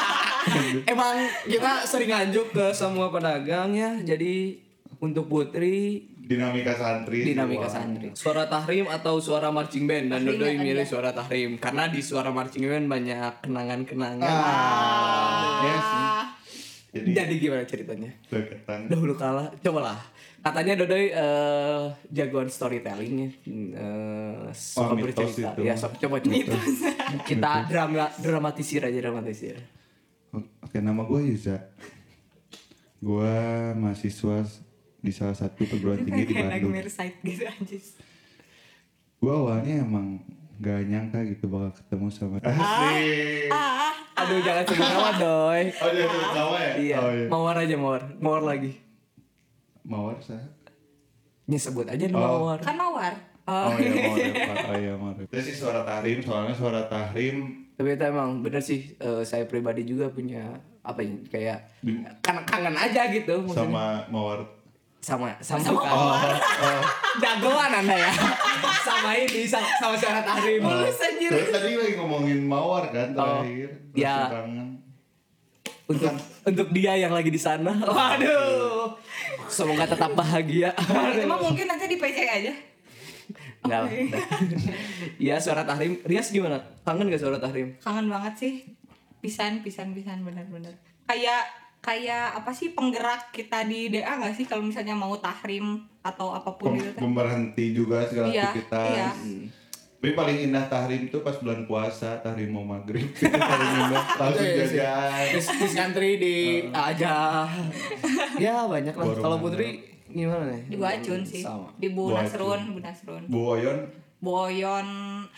Speaker 2: Emang kita sering nganjuk ke semua pedagang ya. Jadi untuk Putri
Speaker 1: dinamika santri
Speaker 2: dinamika
Speaker 1: Wah.
Speaker 2: santri. Suara tahrim atau suara marching band dan Dodoy milih suara tahrim karena di suara marching band banyak kenangan-kenangan.
Speaker 1: ah ya sih jadi
Speaker 2: Jadi gimana ceritanya?
Speaker 1: deketan
Speaker 2: Dahulu kala, cobalah. Katanya Dodoy eh, jagoan storytelling ya. Eh,
Speaker 1: Oh,
Speaker 2: suka
Speaker 1: mitos
Speaker 2: bercerita.
Speaker 1: itu.
Speaker 2: Ya, so- coba coba. Kita drama, dramatisir aja dramatisir.
Speaker 1: oke nama gue Yuza gue mahasiswa di salah satu perguruan tinggi di
Speaker 3: kayak
Speaker 1: Bandung
Speaker 3: nightmare side gitu anjir
Speaker 1: gue awalnya emang gak nyangka gitu bakal ketemu sama asli
Speaker 3: ah
Speaker 2: Aduh jangan sebut nama Doy.
Speaker 1: oh dia tuh tawa ya
Speaker 2: Iya.
Speaker 1: oh, iya.
Speaker 2: Mawar aja mawar. Mawar lagi.
Speaker 1: mawar sah
Speaker 2: Ya sebut aja nih
Speaker 1: Oh.
Speaker 2: mawar.
Speaker 3: kan mawar
Speaker 1: oh
Speaker 3: oh,
Speaker 1: iya mawar Pak. oh iya mawar terus sih suara tahrim soalnya suara tahrim
Speaker 2: Tapi itu emang bener sih eh, saya pribadi juga punya apa ya kayak kangen kangen aja gitu maksudnya.
Speaker 1: sama Oh, mawar
Speaker 2: sama sama sama jagoan anda ya sama ini sama, sama suara tahrim
Speaker 1: Oh,
Speaker 3: mulus anjir
Speaker 1: Terus tadi lagi ngomongin mawar kan terakhir. Terus
Speaker 2: ya.
Speaker 1: tantangan.
Speaker 2: untuk untuk dia yang lagi di sana waduh semoga tetap bahagia
Speaker 3: itu mah mungkin nanti di PC aja
Speaker 2: Enggak lah. ya suara tahrim Rias gimana kangen gak suara tahrim
Speaker 3: kangen banget sih pisan pisan pisan benar-benar kayak kayak apa sih penggerak kita di DA nggak sih kalau misalnya mau tahrim atau apapun
Speaker 1: Pem-
Speaker 3: gitu teh?
Speaker 1: Pemberhenti juga segala
Speaker 3: Iya,
Speaker 1: aktivitas. Mm.
Speaker 3: iya.
Speaker 1: Tapi paling indah tahrim tuh pas bulan puasa, tahrim mau maghrib. Itu paling indah, langsung
Speaker 2: Iya, iya, iya.
Speaker 1: jajan.
Speaker 2: Terus terus ngantri di aja. Oh. ya banyak lah.
Speaker 1: Borongan.
Speaker 2: Kalau Putri gimana nih?
Speaker 3: di Wacun sih
Speaker 2: Sama.
Speaker 3: di Bu
Speaker 1: Bu
Speaker 3: Nasrun Bu Nasrun
Speaker 1: Buoyon,
Speaker 3: Boyon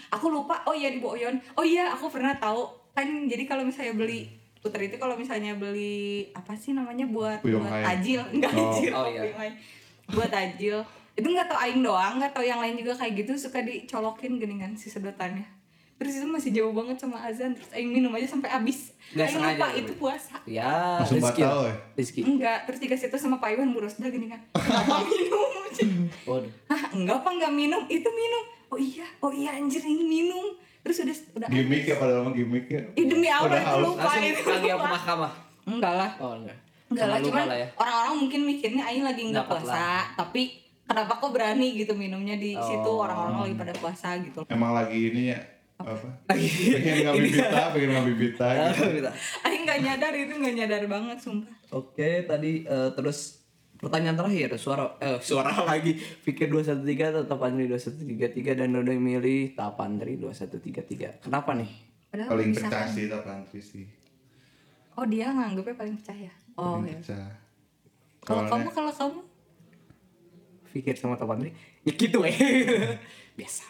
Speaker 3: aku lupa oh iya di Boyon oh iya aku pernah tahu kan jadi kalau misalnya beli putri itu kalau misalnya beli apa sih namanya buat
Speaker 1: Puyong
Speaker 3: buat
Speaker 1: hai.
Speaker 3: tajil enggak
Speaker 1: Oh.
Speaker 3: tajil
Speaker 2: Oh, iya.
Speaker 3: puyong hai. buat tajil itu nggak tau aing doang nggak tau yang lain juga kayak gitu suka dicolokin geningan si sedotannya terus itu masih jauh banget sama azan terus aing minum aja sampai habis
Speaker 2: Nggak
Speaker 3: aing
Speaker 2: sengaja
Speaker 3: lupa
Speaker 2: gitu.
Speaker 3: itu puasa
Speaker 2: Ya,
Speaker 1: Langsung
Speaker 2: Rizky.
Speaker 1: batal ya?
Speaker 2: Rizky.
Speaker 3: enggak terus dikasih itu sama Pak Iwan burus gini kan minum
Speaker 2: Waduh.
Speaker 3: Hah, enggak apa enggak minum? Itu minum. Oh iya, oh iya anjir ini minum. Terus udah udah
Speaker 1: gimmick ya padahal mah gimmick ya.
Speaker 3: Ih, demi Allah
Speaker 1: Udah
Speaker 3: itu
Speaker 1: haus.
Speaker 3: lupa
Speaker 2: Langsung
Speaker 3: itu.
Speaker 2: panggil ke
Speaker 3: lupa.
Speaker 2: mahkamah.
Speaker 3: Enggak lah.
Speaker 2: Oh enggak.
Speaker 3: Enggak lah,
Speaker 2: Sama lu
Speaker 3: cuman
Speaker 2: malah ya.
Speaker 3: orang-orang mungkin mikirnya aing lagi enggak
Speaker 2: Dapat
Speaker 3: puasa, tapi kenapa kok berani gitu minumnya di situ
Speaker 2: Oh.
Speaker 3: orang-orang lagi pada puasa gitu
Speaker 1: Emang lagi ini ya apa?
Speaker 2: Lagi-
Speaker 1: Pengen ngambil bita, pengen ngambil bita gitu.
Speaker 3: Aing nggak nyadar itu nggak nyadar banget sumpah
Speaker 2: Oke, tadi eh, terus pertanyaan terakhir suara eh, suara lagi pikir 213 tetap Andri 2133 dan udah milih tap Andri 2133. Kenapa nih?
Speaker 3: Padahal
Speaker 1: Paling
Speaker 3: bisa
Speaker 1: pecah
Speaker 3: kan.
Speaker 1: sih tak antri sih.
Speaker 3: oh dia nganggepnya paling pecah ya oh
Speaker 1: Paling
Speaker 3: ya
Speaker 1: pecah.
Speaker 3: kalau
Speaker 1: Soalnya-
Speaker 3: kamu kalau kamu
Speaker 2: Pikir sama tap Andri? Ya gitu eh. Biasa.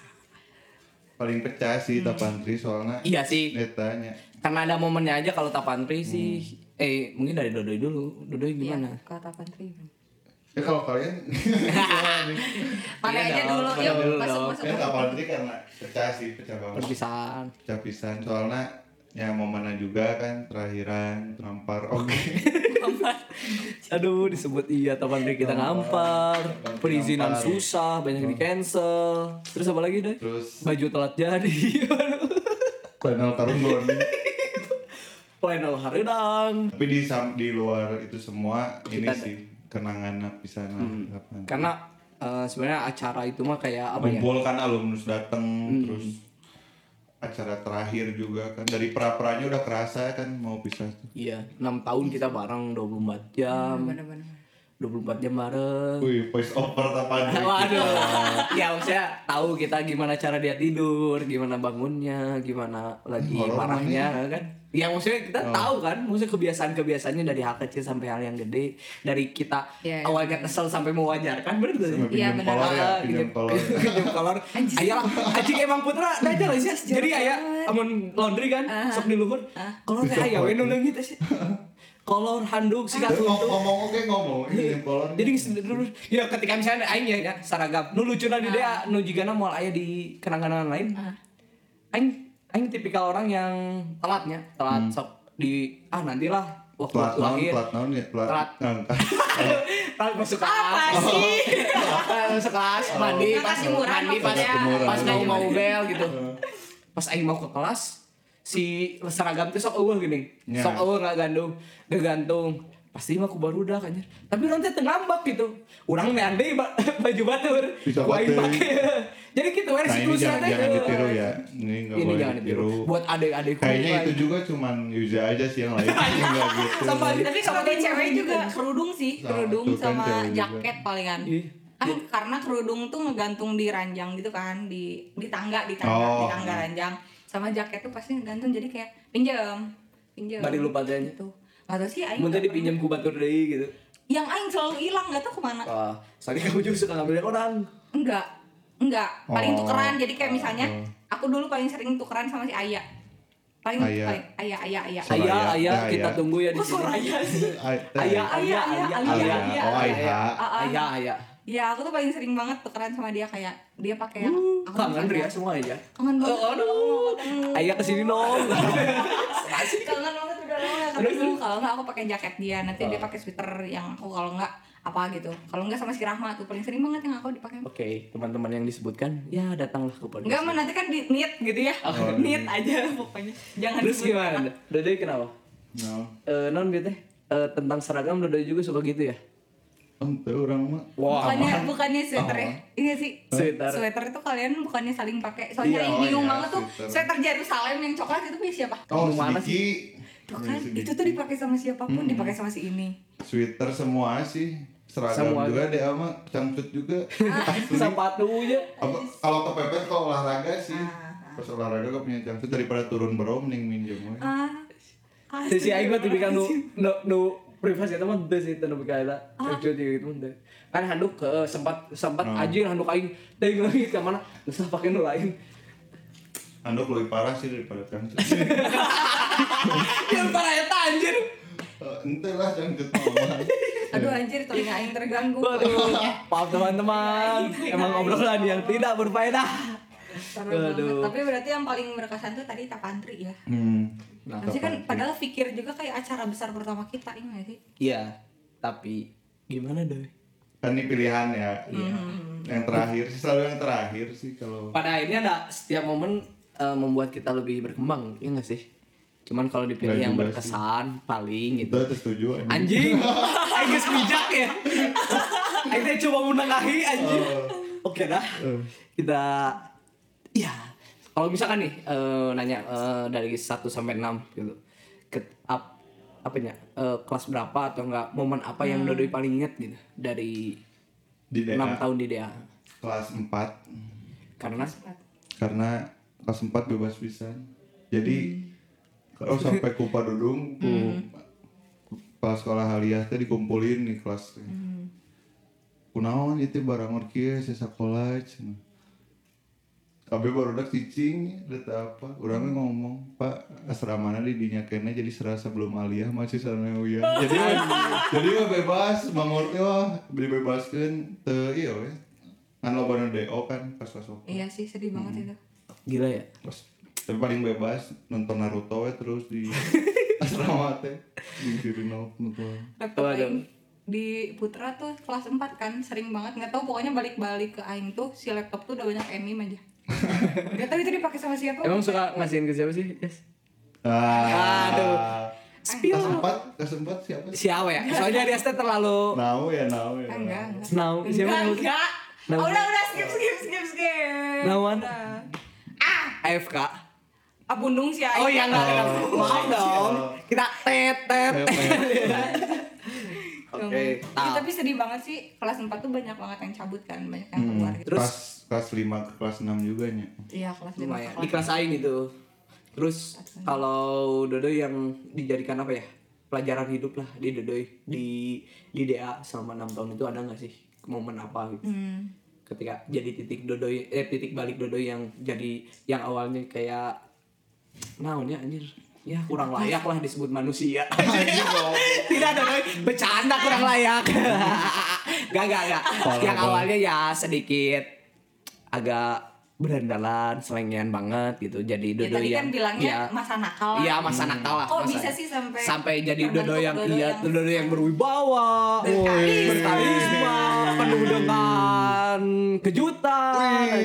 Speaker 1: Paling pecah sih
Speaker 3: Hmm.
Speaker 1: tak antri soalnya
Speaker 2: Iya sih,
Speaker 1: netanya.
Speaker 2: karena ada momennya aja kalau tap Andri sih eh mungkin dari Dodoi dulu. Dodoi
Speaker 3: Iya,
Speaker 2: gimana?
Speaker 3: kalau tapan
Speaker 2: Iya
Speaker 3: terima
Speaker 1: Ya kalau kalian
Speaker 3: mana
Speaker 2: Iya
Speaker 3: aja
Speaker 2: dong,
Speaker 3: dulu
Speaker 2: mana
Speaker 3: yuk
Speaker 2: dulu
Speaker 3: masuk
Speaker 2: dong.
Speaker 3: masuk
Speaker 1: ya tak antri karena pecah sih, pecah banget.
Speaker 2: Perpisahan.
Speaker 1: Pecah pisan soalnya ya mau mana juga kan terakhiran nampar oke
Speaker 2: Aduh, disebut iya tap Andri kita ngampar, perizinan
Speaker 1: Ngampar.
Speaker 2: susah, banyak di cancel. Terus apa lagi deh?
Speaker 1: terus
Speaker 2: baju telat jadi
Speaker 1: panel tarungon
Speaker 2: final haridang
Speaker 1: tapi di sam- di luar itu semua ini
Speaker 2: Kita- Iya.
Speaker 1: sih kenangan pisan lah. Kapan.
Speaker 2: karena eh, sebenarnya acara itu mah kayak apa ya
Speaker 1: mengumpulkan alumnus datang terus acara terakhir juga kan dari pra-pranya udah kerasa kan mau pisah tuh.
Speaker 2: iya enam tahun kita bareng 24 jam
Speaker 3: bener-bener
Speaker 2: 24 jam bareng
Speaker 1: Wih, voice over apa
Speaker 2: waduh ya maksudnya tahu kita gimana cara dia tidur gimana bangunnya gimana lagi
Speaker 1: Horor Oh.
Speaker 2: marahnya kan ya maksudnya kita tahu kan maksudnya kebiasaan kebiasaannya dari hal kecil sampai hal yang gede dari kita
Speaker 3: Iya, iya.
Speaker 2: awalnya kesel sampai mewajarkan bener gak sih?
Speaker 1: Sampai
Speaker 3: Iya,
Speaker 1: pinjam
Speaker 3: benar.
Speaker 1: kolor ya,
Speaker 2: Ah,
Speaker 1: pinjam
Speaker 2: pinjam-
Speaker 1: kolor.
Speaker 2: pinjam kolor ayolah anjing emang putra nah aja lah sih jadi ayah amun laundry kan sok di luhur kolor ya, teh aya we nu leungit gitu sih kolor handuk sikat
Speaker 1: Terus ngom-
Speaker 2: untuk
Speaker 1: ngomong oke ngomong, ini pinjam kolor.
Speaker 2: jadi dulu ya ketika misalnya aing ya kan, saragam nu lucuna di dia nu jigana moal aya di kenangan lain aing aing tipikal orang yang telatnya telat
Speaker 1: Hmm.
Speaker 2: sok di ah nantilah waktu
Speaker 1: Pelat
Speaker 2: waktu
Speaker 1: naon,
Speaker 2: akhir
Speaker 1: pelat naon ya, pelat.
Speaker 2: Pelat.
Speaker 1: Nah,
Speaker 2: Pas masuk kelas.
Speaker 3: sih?
Speaker 2: Pas masuk kelas
Speaker 1: Oh.
Speaker 2: mandi
Speaker 3: Nggak
Speaker 2: pas
Speaker 3: kasih murah
Speaker 2: mandi pas
Speaker 3: maksudnya.
Speaker 2: pas
Speaker 1: Nggak
Speaker 2: mau
Speaker 1: kasih
Speaker 2: mau bel gitu. Pas aing mau ke kelas si seragam tuh sok eueuh gini.
Speaker 1: Ya.
Speaker 2: Sok eueuh nggak gantung, nggak gantung. Pasti mah aku baru udah kan Tapi orang teh ngambak gitu. Urang neandai ba- baju batur.
Speaker 1: Bisa
Speaker 2: Ku aing
Speaker 1: batur.
Speaker 2: pake. Jadi gitu we
Speaker 1: Nah, ini jangan, jangan ditiru ya. Ini nggak
Speaker 2: Ini
Speaker 1: boleh
Speaker 2: jangan ditiru.
Speaker 1: ditiru.
Speaker 2: Buat adik-adik
Speaker 1: Kayaknya itu juga cuman Yuza aja sih yang lain. Enggak gitu.
Speaker 2: Sama adik.
Speaker 3: tapi kalau di cewek juga kerudung sih
Speaker 1: Sama,
Speaker 3: kerudung
Speaker 1: tuh kan
Speaker 3: sama
Speaker 1: cewek juga.
Speaker 3: jaket palingan
Speaker 2: Iya.
Speaker 3: ah karena kerudung tuh ngegantung di ranjang gitu kan di di tangga di tangga di
Speaker 1: Oh.
Speaker 3: tangga ranjang sama jaket tuh pasti ngegantung jadi kayak pinjam pinjam
Speaker 2: Bari lupa tanya.
Speaker 3: gitu nggak tahu sih aing
Speaker 2: Mun teh
Speaker 3: nggak
Speaker 2: dipinjam ku batur deui gitu.
Speaker 3: pernah- yang aing selalu hilang nggak tahu kemana
Speaker 2: Wah, soalnya kamu juga suka ngambilin orang.
Speaker 3: enggak enggak paling
Speaker 1: Oh.
Speaker 3: tukeran jadi kayak misalnya
Speaker 1: Oh.
Speaker 3: aku dulu paling sering tukeran sama si Aya paling
Speaker 1: Aya.
Speaker 3: paling Aya Aya Aya
Speaker 1: Soraya.
Speaker 2: Ayah, ayah,
Speaker 1: Ayah.
Speaker 2: kita tunggu ya di
Speaker 3: Kok
Speaker 2: sini.
Speaker 3: Oh, Soraya sih?
Speaker 1: Ay, teh.
Speaker 2: Ayah,
Speaker 3: Ayah,
Speaker 2: Eh, ayah, ayah,
Speaker 3: ayah,
Speaker 2: ayah,
Speaker 1: ayah. Oh, ayah.
Speaker 2: ayah, ayah.
Speaker 3: Ya aku tuh paling sering banget tukeran sama dia kayak dia pakai yang
Speaker 2: Uh,
Speaker 3: aku
Speaker 2: Kangen
Speaker 3: pakai-
Speaker 2: Ria semua aja.
Speaker 3: Kangen banget.
Speaker 2: Oh, aduh. Ayah kesini dong.
Speaker 3: Kangen banget udah lama ya ketemu. Kalau nggak aku pakai jaket dia, nanti
Speaker 2: Oh.
Speaker 3: dia pakai sweater yang aku kalau nggak apa gitu. Kalau nggak sama si Rahma tuh paling sering banget yang aku dipakai.
Speaker 2: Oke, teman-teman yang disebutkan, ya datanglah ke podcast.
Speaker 3: Enggak mah nanti kan di niat gitu ya. Niat aja pokoknya. Jangan
Speaker 2: Oh, iya. Terus
Speaker 3: disebut.
Speaker 2: gimana? Dede kenapa?
Speaker 1: No.
Speaker 2: Eh, non gitu teh. Eh, tentang seragam Dede juga suka gitu ya?
Speaker 1: Ente orang mah.
Speaker 2: Wah,
Speaker 3: Bukannya bukannya sweater ya? Iya sih.
Speaker 2: Oh, Sweater.
Speaker 3: Sweater itu kalian bukannya saling pakai. Soalnya
Speaker 1: Iya,
Speaker 3: yang
Speaker 1: oh
Speaker 3: bingung
Speaker 1: iya,
Speaker 3: banget tuh
Speaker 1: sweater.
Speaker 3: sweater Jerusalem yang coklat itu punya siapa?
Speaker 1: Oh, Iya,
Speaker 2: Mana
Speaker 1: sedikit.
Speaker 3: Tuh kan, itu tuh dipakai sama siapapun, dipakai
Speaker 2: Hmm.
Speaker 3: sama si ini.
Speaker 1: Sweater semua sih. Seragam
Speaker 2: Semua. Ah.
Speaker 1: juga deh ama cangcut juga. Asli.
Speaker 2: sepatunya.
Speaker 1: Apa, kalau kepepet kalau olahraga sih.
Speaker 2: Ah,
Speaker 1: Pas olahraga gue punya cangcut daripada turun bro mending minjem we.
Speaker 3: Ah. ah,
Speaker 2: Si si aing mah tipikal nu nu nu privasi eta mah teu sih teu nepi ka eta. Cucu di itu teh. Kan handuk eh, sempat sempat anjing handuk aing teuing lagi ka mana? Usah pake nu lain. Ah.
Speaker 1: Handuk lebih parah sih daripada cangcut.
Speaker 2: Ya parah eta anjir.
Speaker 1: Eh, Ente lah cangcut mama.
Speaker 3: Aduh anjir telinga aing terganggu.
Speaker 2: Waduh. Maaf teman-teman, emang obrolan yang tidak berfaedah.
Speaker 3: Parah banget. Tapi berarti yang paling berkesan tuh tadi tapantri ya.
Speaker 1: Hmm.
Speaker 2: Nah,
Speaker 3: Tapi kan padahal pikir juga kayak acara besar pertama kita ini nggak sih.
Speaker 2: Iya, tapi gimana doi?
Speaker 1: Kan ini pilihan ya. Yang terakhir sih selalu yang terakhir sih kalau
Speaker 2: Pada akhirnya ada setiap momen eh, membuat kita lebih berkembang, ya nggak sih? Cuman kalau dipilih
Speaker 1: Nggak
Speaker 2: yang
Speaker 1: juga
Speaker 2: berkesan paling gitu.
Speaker 1: itu setuju. anjing.
Speaker 2: Anjing, Aing geus bijak ya. Akhirnya coba menengahi anjir.
Speaker 1: Oh.
Speaker 2: Oke dah.
Speaker 1: Eh.
Speaker 2: Kita ya kalau misalkan nih eh, nanya eh, dari 1 sampai 6 gitu. Ke ap, apanya? eh, kelas berapa atau enggak momen apa yang Dodoi paling inget gitu dari
Speaker 1: di
Speaker 2: enam
Speaker 1: daerah
Speaker 2: tahun di DA.
Speaker 1: kelas 4
Speaker 2: Karena
Speaker 1: karena kelas 4 bebas pisan. Jadi kalau sampai kupa dudung ku pas sekolah haliah teh dikumpulin di kelas. teh. Kunaon itu barang orkir sisa sekolah cenah. Tapi baru udah cicing, udah apa? Orangnya ngomong, Pak, asramana di dinya kena jadi serasa belum aliyah masih sana uyan. Jadi, jadi mah bebas, bangun wah dibebaskan, te iya weh. Kan lo baru DO kan pas kelas waktu.
Speaker 2: Hmm.
Speaker 3: Iya sih sedih banget itu.
Speaker 2: gila ya.
Speaker 1: Terus, tapi paling bebas nonton Naruto we terus di asrama teh di Kirino nonton
Speaker 3: Tapi
Speaker 2: Waduh.
Speaker 3: Aing di Putra tuh kelas 4 kan sering banget nggak tahu pokoknya balik-balik ke Aing tuh si laptop tuh udah banyak anime aja. Gak tahu itu dipakai sama siapa.
Speaker 2: Emang suka ngasihin ke siapa sih? Yes. Aduh.
Speaker 1: ah
Speaker 2: Spill.
Speaker 1: kesempat kesempat siapa sih
Speaker 2: Siapa ya? Soalnya dia stay terlalu
Speaker 1: Nau ya Nau ya
Speaker 3: Ah, enggak, enggak.
Speaker 2: Now, siapa
Speaker 3: enggak,
Speaker 2: yang-
Speaker 3: enggak.
Speaker 2: Now.
Speaker 3: Oh, udah, udah, skip, skip, skip, skip.
Speaker 2: Nawan.
Speaker 3: Udah. Ah,
Speaker 2: AFK.
Speaker 3: abundung sih Aing.
Speaker 2: Oh iya enggak, enggak.
Speaker 1: Oh.
Speaker 2: Maaf dong. Kita tet tet.
Speaker 1: Kayak pengen-
Speaker 3: Cuma-
Speaker 2: Oke,
Speaker 3: Ih,
Speaker 2: tahu.
Speaker 3: tapi sedih banget sih kelas 4 tuh banyak banget yang cabut kan, banyak yang keluar gitu.
Speaker 2: Terus?
Speaker 1: pas kelas lima ke kelas enam juga nya
Speaker 3: Iya, kelas lima
Speaker 2: lumayan
Speaker 3: ke
Speaker 2: di kelas aing itu terus kalau dodoi yang dijadikan apa ya pelajaran hidup lah di dodoi di di DA selama enam tahun itu ada nggak sih momen apa gitu
Speaker 3: Hmm.
Speaker 2: ketika jadi titik dodoi eh titik balik dodoi yang jadi yang awalnya kayak naonnya anjir ya kurang layak lah disebut manusia tidak dodoi bercanda kurang layak gak gak gak yang awalnya ya sedikit agak berandalan selengean banget gitu jadi dodoi
Speaker 3: Ya, tadi
Speaker 2: yang
Speaker 3: kan bilangnya
Speaker 2: ya.
Speaker 3: masa nakal. lah.
Speaker 2: Iya masa nakal lah.
Speaker 3: Kok
Speaker 2: masa-
Speaker 3: bisa sih sampai
Speaker 2: jadi
Speaker 3: terbentuk
Speaker 2: dodo yang
Speaker 3: dodo
Speaker 2: iya
Speaker 3: yang-
Speaker 2: dodo yang berwibawa,
Speaker 3: Berkarisma.
Speaker 2: berkarisma, penuh dengan kejutan, Ah,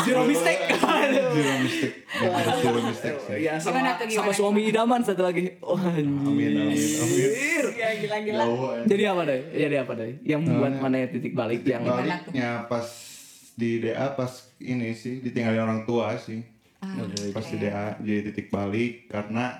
Speaker 2: zero mistake. Aduh.
Speaker 1: zero mistake Bener, zero mistake sih.
Speaker 2: Ya
Speaker 3: Gimana
Speaker 2: sama
Speaker 3: tuh, gimana?
Speaker 2: sama suami idaman satu lagi. Oh,
Speaker 1: amin
Speaker 2: anjir.
Speaker 1: amin amin
Speaker 3: Gila, gila, gila.
Speaker 1: Jauh, ya.
Speaker 2: Jadi apa deh? Jadi apa deh? Yang membuat mana ya titik balik yang
Speaker 1: baliknya pas di DA pas ini sih ditinggalin orang tua sih
Speaker 2: Ah,
Speaker 1: pas di DA jadi titik balik karena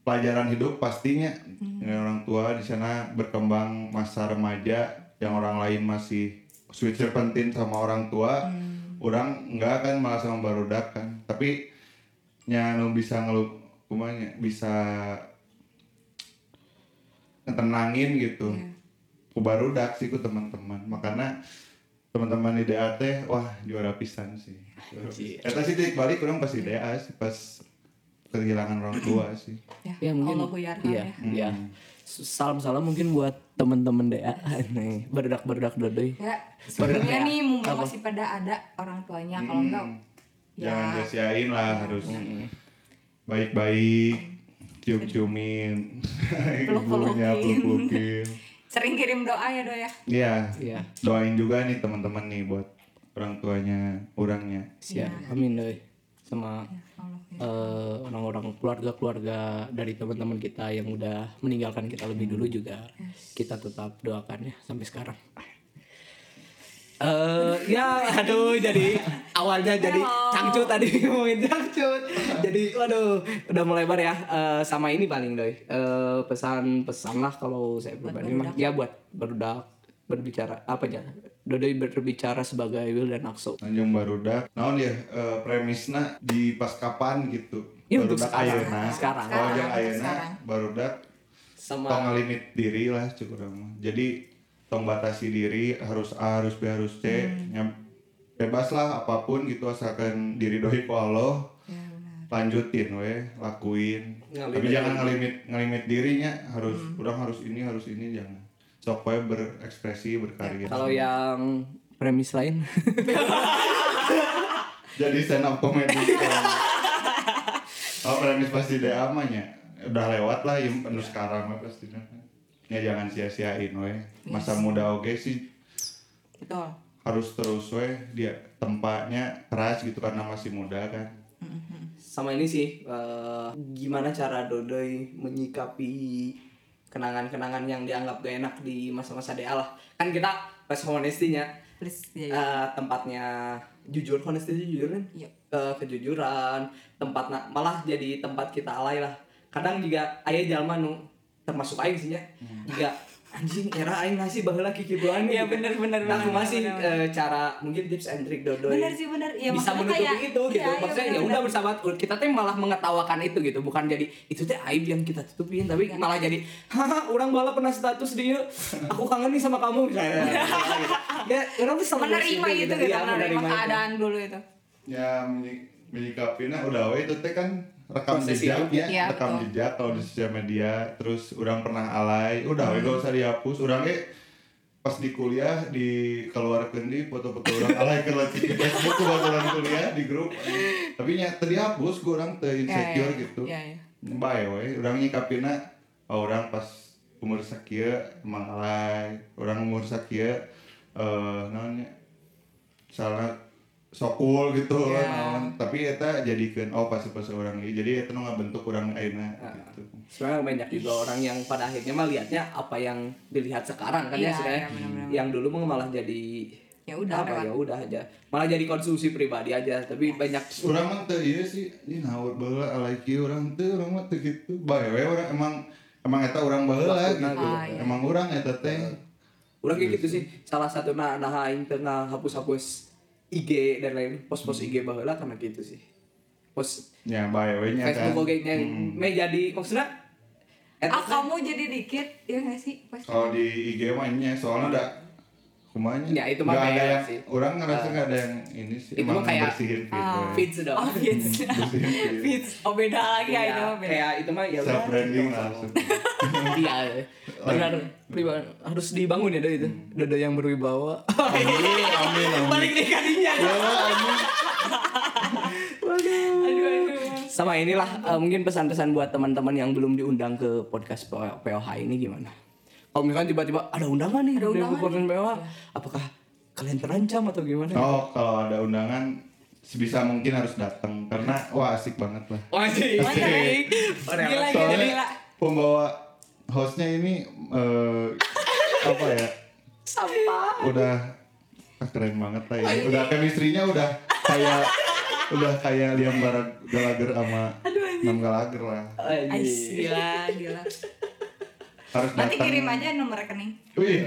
Speaker 1: pelajaran hidup pastinya
Speaker 2: Hmm.
Speaker 1: dengan orang tua di sana berkembang masa remaja yang orang lain masih switch penting sama orang tua
Speaker 2: Hmm.
Speaker 1: orang enggak kan malah sama barudak kan tapi nyanu bisa ngeluk kumanya bisa tenangin gitu ku barudak sih ku teman-teman makanya teman-teman di DA teh wah juara pisan sih
Speaker 2: Anjir.
Speaker 1: Eta sih titik balik kurang pas di DA sih pas kehilangan orang tua sih.
Speaker 2: ya mungkin
Speaker 3: Allahu yarham
Speaker 2: iya iya
Speaker 3: ya.
Speaker 2: salam salam mungkin buat temen-temen DA nih berdak berdak dodoi
Speaker 3: Ya, sebenarnya nih mumpung masih pada ada orang tuanya kalau enggak
Speaker 1: Jangan
Speaker 3: ya
Speaker 1: sia-siain lah harus baik-baik cium-ciumin ibunya peluk-pelukin.
Speaker 3: sering kirim doa ya doya.
Speaker 1: Iya.
Speaker 2: Iya.
Speaker 1: Doain juga nih teman-teman nih buat orang tuanya, orangnya.
Speaker 2: siap amin doi sama
Speaker 3: Iya.
Speaker 2: eh, orang-orang keluarga-keluarga dari teman-teman kita yang udah meninggalkan kita lebih dulu juga kita tetap doakan ya sampai sekarang eh ya aduh jadi awalnya jadi cangcut tadi ngomongin cangcut jadi waduh udah melebar ya Eh, sama ini paling doi Eh, pesan-pesan lah kalau saya pribadi mah ya buat berdak berbicara apa ya doi berbicara sebagai Will dan Akso
Speaker 1: Tanjung Barudak. Naon ya eh, premisna di pas kapan gitu.
Speaker 2: Iya, untuk sekarang.
Speaker 1: ayeuna.
Speaker 2: Sekarang.
Speaker 1: Oh, jeung
Speaker 3: Sekarang,
Speaker 1: ayeuna
Speaker 3: sekarang.
Speaker 1: Barudak
Speaker 2: sama
Speaker 1: tong ngalimit diri lah cukup mah. Jadi tong batasi diri harus A harus B harus C
Speaker 3: Hmm.
Speaker 1: Nyam- bebas lah apapun gitu asalkan diri doi ku Allah
Speaker 3: Ya benar.
Speaker 1: lanjutin we lakuin
Speaker 2: Ngalimit.
Speaker 1: tapi jangan ngelimit ngelimit dirinya harus
Speaker 3: Hmm.
Speaker 1: orang harus ini harus ini jangan sok we berekspresi berkarya
Speaker 2: Kalau yang premis lain,
Speaker 1: jadi stand up comedy kalau premis pasti deh amanya udah lewat lah yang penuh sekarang mah pasti ya jangan sia-siain we masa muda oke sih
Speaker 3: Betul.
Speaker 1: harus terus we dia tempatnya keras gitu karena masih muda kan
Speaker 2: sama ini sih eh, gimana cara Dodoi menyikapi kenangan-kenangan yang dianggap gak enak di masa-masa DA lah kan kita pas honestinya
Speaker 3: Please, ya, ya.
Speaker 2: eh, tempatnya jujur honesty itu jujur kan
Speaker 3: Iya.
Speaker 2: Eh, kejujuran tempat na- malah jadi tempat kita alay lah kadang juga ayah jalma nu termasuk aing sih ya juga anjing era aing ngasih baheula kiki bulan
Speaker 3: Hmm. Iya, bener, bener,
Speaker 2: nah,
Speaker 3: bener,
Speaker 2: masih
Speaker 3: bener, bener.
Speaker 2: eh, cara mungkin tips and trick dodoy
Speaker 3: Bener sih, bener. Iya,
Speaker 2: bisa
Speaker 3: maksudnya
Speaker 2: menutupi itu
Speaker 3: kayak-
Speaker 2: gitu
Speaker 3: iya, iya,
Speaker 2: maksudnya
Speaker 3: bener,
Speaker 2: ya
Speaker 3: bener.
Speaker 2: udah bersahabat kita teh malah mengetawakan itu gitu bukan jadi itu teh aib yang kita tutupin tapi
Speaker 3: Iya.
Speaker 2: malah jadi haha orang malah pernah status dia aku kangen nih sama kamu misalnya ya orang tuh selalu
Speaker 3: menerima
Speaker 2: bersyukur
Speaker 3: itu gitu,
Speaker 2: Iya,
Speaker 3: menerima
Speaker 2: itu.
Speaker 3: keadaan dulu itu.
Speaker 1: ya menyik- menyikapinya udah we itu teh kan rekam
Speaker 2: Proses
Speaker 1: jejak
Speaker 2: hidupnya.
Speaker 1: ya,
Speaker 3: Iya,
Speaker 1: rekam
Speaker 3: betul.
Speaker 1: jejak kalau di sosial media terus orang pernah alay udah
Speaker 3: Hmm.
Speaker 1: we gak usah dihapus orang ge pas di kuliah di keluarkan di foto-foto orang alay ke lagi ke Facebook kebetulan kuliah di grup tapi nya teu dihapus gue orang teu insecure
Speaker 3: ya,
Speaker 1: gitu
Speaker 3: ya, ya.
Speaker 1: bae we orang nyikapinnya oh, orang pas umur sakieu emang alay orang umur sakieu eh naonnya salah sokul gitu
Speaker 3: Ya.
Speaker 1: naon. tapi eta jadikeun oh pas pas orang ini jadi eta nu ngabentuk urang ayeuna gitu
Speaker 2: sebenarnya banyak juga orang yang pada akhirnya mah lihatnya apa yang dilihat sekarang kan ya
Speaker 3: Iya,
Speaker 2: sebenarnya
Speaker 3: iya, benar-benar.
Speaker 2: yang dulu mah malah jadi
Speaker 3: Ya udah,
Speaker 2: apa
Speaker 3: lewat.
Speaker 2: ya udah aja malah jadi konsumsi pribadi aja tapi banyak
Speaker 1: urang mah teu ieu sih ini naur baheula alay kieu urang teu urang mah teu gitu bae we urang emang emang eta urang baheula
Speaker 2: Maksudna
Speaker 1: gitu
Speaker 3: gitu. Ah, iya.
Speaker 1: emang urang eta teh
Speaker 2: Orang kayak gitu sih, salah satu nah, nah aing teu ngahapus-hapus IG dan lain pos-pos IG baheula karena gitu sih. Pos
Speaker 1: ya bae we nya kan
Speaker 2: Facebook oge nya me jadi maksudnya eta
Speaker 3: Ah,
Speaker 2: teh-
Speaker 3: kamu jadi dikit, ya nggak sih? Pas-
Speaker 1: kalau di IG mah nya soalnya ada kumanya
Speaker 2: Ya, itu mah
Speaker 1: Nggak ada
Speaker 2: beda
Speaker 1: yang
Speaker 2: sih. Ah.
Speaker 1: orang ngerasa nggak ada yang ini sih
Speaker 2: itu
Speaker 1: emang
Speaker 2: mah kayak-
Speaker 1: bersihin gitu. feed
Speaker 3: Ah.
Speaker 1: we.
Speaker 2: feeds dong.
Speaker 3: Oh, fits.
Speaker 1: bersihin feed
Speaker 3: Fits. Oh, beda lagi ya, itu
Speaker 2: Ya,
Speaker 3: mah beda.
Speaker 2: kayak itu mah ya
Speaker 1: self branding
Speaker 2: Gitu,
Speaker 1: lah
Speaker 2: Iya, benar pribadi harus dibangun ya Doi, itu. Dada yang berwibawa.
Speaker 1: amin amin amin
Speaker 2: Balik nih kadinya.
Speaker 1: Ya, amin.
Speaker 2: Waduh.
Speaker 3: Aduh, aduh.
Speaker 2: Sama inilah eh, mungkin pesan-pesan buat teman-teman yang belum diundang ke podcast P- POH ini gimana? Kalau misalkan tiba-tiba ada undangan nih
Speaker 3: Ada
Speaker 2: dari
Speaker 3: undangan Iya.
Speaker 2: Kabupaten POH, apakah kalian terancam atau gimana?
Speaker 1: oh kalau ada undangan sebisa mungkin harus datang karena wah asik banget lah
Speaker 2: Wajib.
Speaker 3: Wajib. Gila, gila, gila.
Speaker 1: soalnya pembawa hostnya ini eh, apa ya
Speaker 2: Sampah.
Speaker 1: udah ah, keren banget
Speaker 3: Oh,
Speaker 1: lah ya
Speaker 3: iya.
Speaker 1: udah chemistry-nya udah kayak udah kayak liam Barat- galager sama enam galager lah
Speaker 3: Ais,
Speaker 2: Wajib.
Speaker 3: gila, gila.
Speaker 1: harus
Speaker 3: Nanti
Speaker 1: datang.
Speaker 3: kirim aja Iya. nomor rekening.
Speaker 1: Wih,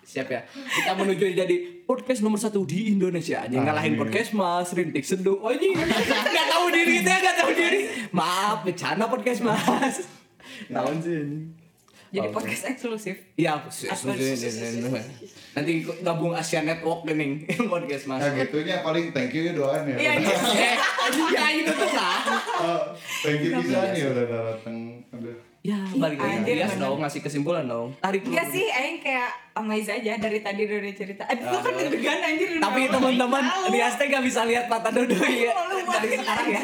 Speaker 2: Siap ya. Kita menuju jadi podcast nomor satu di Indonesia. Aja
Speaker 1: Amin.
Speaker 2: ngalahin podcast Mas Rintik Seduh. Oh ini nggak tahu diri kita nggak tahu diri. Maaf bercanda podcast Mas. Tahun sih. ini.
Speaker 3: Jadi
Speaker 1: Oh.
Speaker 2: Oke.
Speaker 3: podcast eksklusif.
Speaker 2: Iya, nanti gabung Asia Network nih podcast mas.
Speaker 1: nah gitunya paling thank you ya doan ya.
Speaker 3: Iya, iya.
Speaker 2: Eh, ya itu tuh lah.
Speaker 1: Oh, thank
Speaker 3: Iya,
Speaker 1: you bisa nih udah datang. Aduh.
Speaker 2: Ya, balik lagi
Speaker 3: Anjir,
Speaker 2: Dias
Speaker 3: bener.
Speaker 2: dong ngasih kesimpulan dong. Tarik dulu.
Speaker 3: Enggak Iya sih, Aing kayak amazed aja dari tadi udah ada cerita. Aduh, gua kan
Speaker 2: Aduh.
Speaker 3: deg-degan anjir.
Speaker 2: Tapi teman-teman Dias teh gak bisa lihat mata Dodo ya.
Speaker 3: Iya, Malu banget. Iya,
Speaker 2: Dari sekarang ya.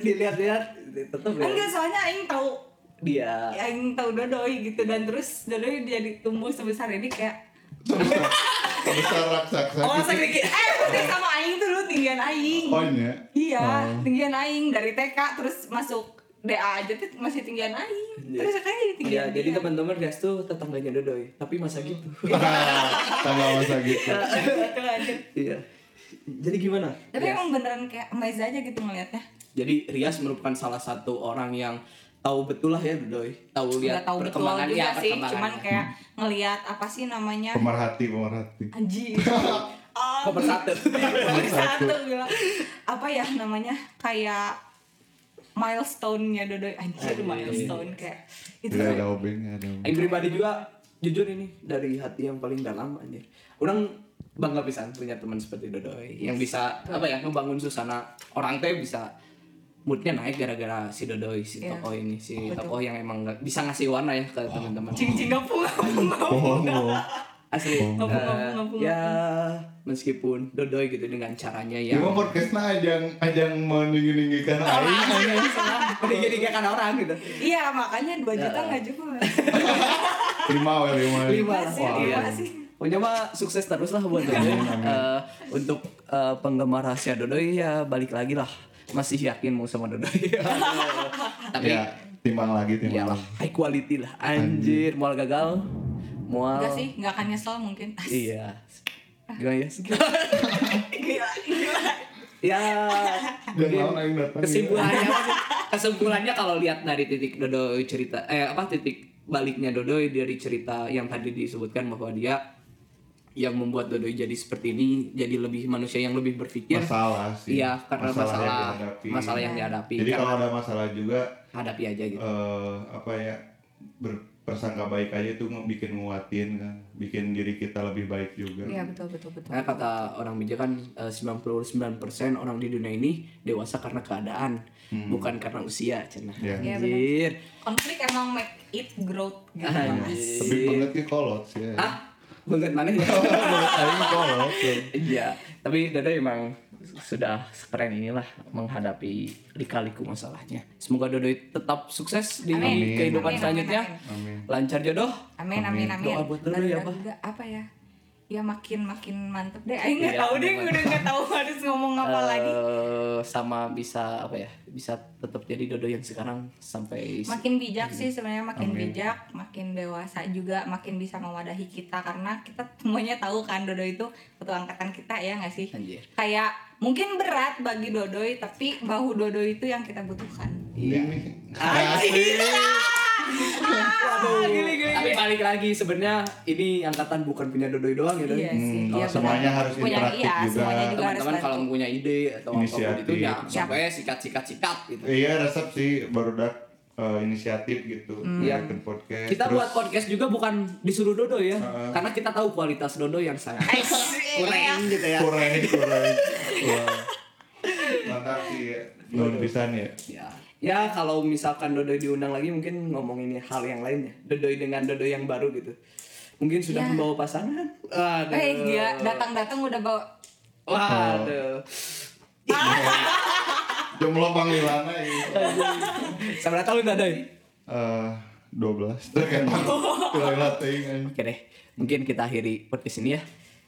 Speaker 2: Dilihat-lihat tetap ya.
Speaker 3: Enggak, soalnya Aing tahu
Speaker 2: Dia.
Speaker 3: Aing tahu Dodoi gitu dan terus Dodoi jadi tumbuh sebesar ini kayak
Speaker 1: Sebesar, sebesar raksasa.
Speaker 2: Oh,
Speaker 1: gitu.
Speaker 2: saya mikir.
Speaker 3: eh putih sama Aing tuh dulu tinggian Aing
Speaker 1: Oh, ini ya.
Speaker 3: iya tinggian Aing dari TK terus masuk DA aja tuh masih tinggian Aing
Speaker 2: Iya.
Speaker 3: terus sekarang jadi tinggian
Speaker 2: Ya, jadi teman-teman Dias tuh tetangganya Dodoy, tapi masa gitu.
Speaker 3: Iya.
Speaker 1: Nah, tambah masa gitu.
Speaker 3: gitu aja
Speaker 2: Iya. Jadi gimana?
Speaker 3: tapi
Speaker 2: Dias?
Speaker 3: emang beneran kayak amazed aja gitu ngeliatnya
Speaker 2: Jadi Rias merupakan salah satu orang yang tahu betul lah ya Dodoy, tahu lihat
Speaker 3: nggak tahu betul
Speaker 2: perkembangan
Speaker 3: juga
Speaker 2: ya
Speaker 3: sih cuman
Speaker 2: perkembangannya.
Speaker 3: kayak ngelihat apa sih namanya
Speaker 1: Pemerhati, pemerhati.
Speaker 3: anjir Ah,
Speaker 2: Pemersatu.
Speaker 3: satu gila apa ya namanya kayak milestone-nya Dodoy
Speaker 2: Iya,
Speaker 3: anjir milestone kayak itu
Speaker 2: Gitu.
Speaker 1: Tidak Iya, ada obeng, nggak ada obeng.
Speaker 2: Aing pribadi juga jujur ini dari hati yang paling dalam anjir. Orang bangga pisan punya teman seperti Dodoy yang bisa apa ya ngebangun suasana orang teh bisa moodnya naik gara-gara si Dodoy si
Speaker 3: Iya.
Speaker 2: tokoh ini si
Speaker 3: Betul.
Speaker 2: tokoh yang emang nggak- bisa ngasih warna ya ke teman-teman.
Speaker 3: cincin gak punga punga
Speaker 1: Bohong, bohong.
Speaker 2: Asli.
Speaker 1: Ngomong,
Speaker 2: eh,
Speaker 3: ngomong, ngomong.
Speaker 2: ya meskipun Dodoy gitu dengan caranya yang
Speaker 1: Cuma podcastnya nah, ajang, ajang meninggi-ninggikan
Speaker 2: Oh,
Speaker 1: aing.
Speaker 2: iya.
Speaker 1: aing.
Speaker 2: Mending jadi gak kan orang gitu.
Speaker 3: iya makanya 2 juta nggak cukup
Speaker 1: Lima, we, lima.
Speaker 2: Lima
Speaker 3: Masih,
Speaker 2: Wah.
Speaker 3: iya, masih.
Speaker 2: Pokoknya mah sukses terus lah buat Dodoy. Eh, untuk eh, penggemar rahasia Dodoy ya balik lagi lah. Masih yakin mau sama Dodoy. Tapi
Speaker 1: Ya,
Speaker 2: Iya,
Speaker 1: timbang lagi timbang
Speaker 2: iyalah
Speaker 1: lagi
Speaker 2: high quality lah anjir mual gagal mual
Speaker 3: Enggak sih, enggak akan nyesel mungkin.
Speaker 2: iya gimana ya
Speaker 3: gila, gila.
Speaker 2: ya
Speaker 1: dan
Speaker 2: mungkin
Speaker 1: lawan yang datang
Speaker 2: kesimpulannya kesimpulannya kalau lihat dari titik Dodoy cerita eh apa titik baliknya Dodoy dari cerita yang tadi disebutkan bahwa dia yang membuat Dodoy jadi seperti ini jadi lebih manusia yang lebih
Speaker 1: ya.
Speaker 2: berpikir
Speaker 1: masalah sih
Speaker 2: Iya, karena masalah- masalah yang dihadapi.
Speaker 1: jadi
Speaker 2: Karena-
Speaker 1: kalau ada masalah juga
Speaker 2: hadapi aja gitu
Speaker 1: eh, apa ya berprasangka baik aja itu nge- bikin nguatin kan bikin diri kita lebih baik juga
Speaker 3: Iya, betul betul betul.
Speaker 2: Karena Nah, kata orang bijak kan eh, 99% orang di dunia ini dewasa karena keadaan, bukan karena usia, cenah.
Speaker 1: Hmm. Iya.
Speaker 3: Iya, benar.
Speaker 2: Anjir.
Speaker 3: Konflik emang make it growth gitu.
Speaker 2: Ah,
Speaker 1: tapi
Speaker 2: Anjir.
Speaker 1: banget sih kolot sih ya.
Speaker 2: Iya. Ah, banget mana ya?
Speaker 1: Banget aja kolot tuh.
Speaker 2: Iya, tapi Dada emang sudah sekeren inilah menghadapi lika-liku masalahnya. Semoga Dodo tetap sukses di
Speaker 3: Amin.
Speaker 2: kehidupan
Speaker 3: Amin, amin,
Speaker 2: selanjutnya.
Speaker 1: amin
Speaker 2: Lancar jodoh.
Speaker 3: Amin amin amin.
Speaker 2: Doa buat dulu
Speaker 3: Baru
Speaker 2: ya,
Speaker 3: udah
Speaker 2: Pak.
Speaker 3: juga apa ya? Ya makin makin mantep deh.
Speaker 2: Iya,
Speaker 3: Aing nggak tahu deh,
Speaker 2: makin
Speaker 3: gue udah nggak tahu harus ngomong apa lagi.
Speaker 2: Eh, sama bisa apa ya? Bisa tetap jadi Dodo yang sekarang sampai
Speaker 3: Makin bijak sih sebenarnya makin
Speaker 1: Amin.
Speaker 3: bijak, makin dewasa juga, makin bisa mewadahi kita karena kita semuanya tahu kan Dodo itu ketua angkatan kita ya nggak sih?
Speaker 2: Anjir.
Speaker 3: Kayak mungkin berat bagi Dodoy tapi bahu Dodoy itu yang kita butuhkan.
Speaker 2: Iya.
Speaker 1: ini nih
Speaker 3: Ah,
Speaker 2: Aduh. Tapi balik lagi sebenarnya ini angkatan bukan punya Dodoy doang ya. Doy.
Speaker 3: Iya sih.
Speaker 1: Hmm,
Speaker 3: Iya,
Speaker 1: kalau semuanya
Speaker 3: benar.
Speaker 1: harus
Speaker 3: Punya-
Speaker 1: interaktif
Speaker 3: iya,
Speaker 1: juga.
Speaker 3: Semuanya juga harus
Speaker 2: Teman-teman
Speaker 3: bantu.
Speaker 2: kalau punya ide atau apapun
Speaker 1: Inisiatif.
Speaker 2: itu ya sampai sikat sikat sikat gitu.
Speaker 1: iya resep sih barudak eh, inisiatif gitu
Speaker 2: Iya.
Speaker 1: bikin podcast
Speaker 2: Kita
Speaker 1: terus
Speaker 2: buat podcast juga bukan disuruh Dodo ya, karena kita tahu kualitas Dodo yang sangat kurang gitu ya.
Speaker 1: kurang kurang Wah. mantap sih ya. Nun pisan ya
Speaker 2: Ya, ya kalau misalkan Dodoy diundang lagi mungkin ngomongin hal yang lain ya. Dodoy dengan Dodoy yang baru gitu. Mungkin sudah
Speaker 3: Ya.
Speaker 2: membawa pasangan. Aduh.
Speaker 3: Eh,
Speaker 2: iya.
Speaker 3: gila, datang-datang udah bawa
Speaker 2: Waduh.
Speaker 1: jomblo panglilana ini
Speaker 2: Seberapa tahun Dodoy?
Speaker 1: eh 12 terkena kelewat teuing
Speaker 2: Oke deh, mungkin kita akhiri podcast ini ya.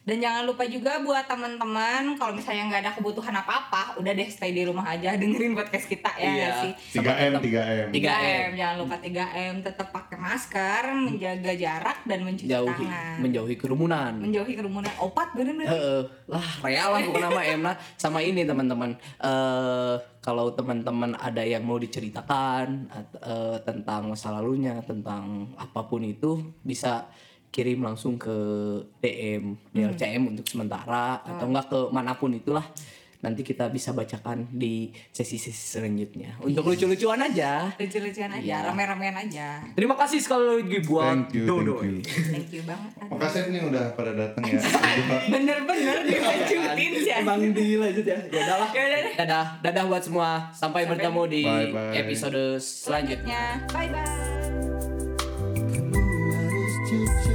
Speaker 3: Dan jangan lupa juga buat teman-teman kalau misalnya nggak ada kebutuhan apa-apa, udah deh stay di rumah aja dengerin podcast kita ya
Speaker 2: Iya.
Speaker 3: nggak sih.
Speaker 1: 3M 3M
Speaker 2: 3M.
Speaker 3: 3M, jangan lupa 3M, tetap pakai masker, menjaga jarak dan mencuci
Speaker 2: Jauhi,
Speaker 3: tangan.
Speaker 2: menjauhi kerumunan.
Speaker 3: Menjauhi kerumunan. Opat bener-bener.
Speaker 2: Heeh. lah real lah bukan nama Emna sama ini teman-teman eh kalau teman-teman ada yang mau diceritakan at- eh, tentang masa lalunya tentang apapun itu bisa kirim langsung ke DM DLCM untuk sementara atau enggak ke manapun itulah nanti kita bisa bacakan di sesi-sesi selanjutnya untuk lucu-lucuan aja
Speaker 3: Lucu-lucuan aja,
Speaker 2: Iya.
Speaker 3: rame-ramean aja.
Speaker 2: terima kasih sekali lagi buat
Speaker 1: Thank you, thank
Speaker 2: Dodoy.
Speaker 1: you.
Speaker 3: Thank you banget.
Speaker 1: Makasih nih udah pada datang ya.
Speaker 3: Bener-bener
Speaker 2: Iya.
Speaker 3: dilanjutin sih.
Speaker 2: Emang dilanjut ya. Iya. Ya udahlah. Dadah, dadah buat semua. Sampai, bertemu di
Speaker 1: Bye, bye.
Speaker 2: episode selanjutnya.
Speaker 3: Bye-bye.
Speaker 4: harus cuci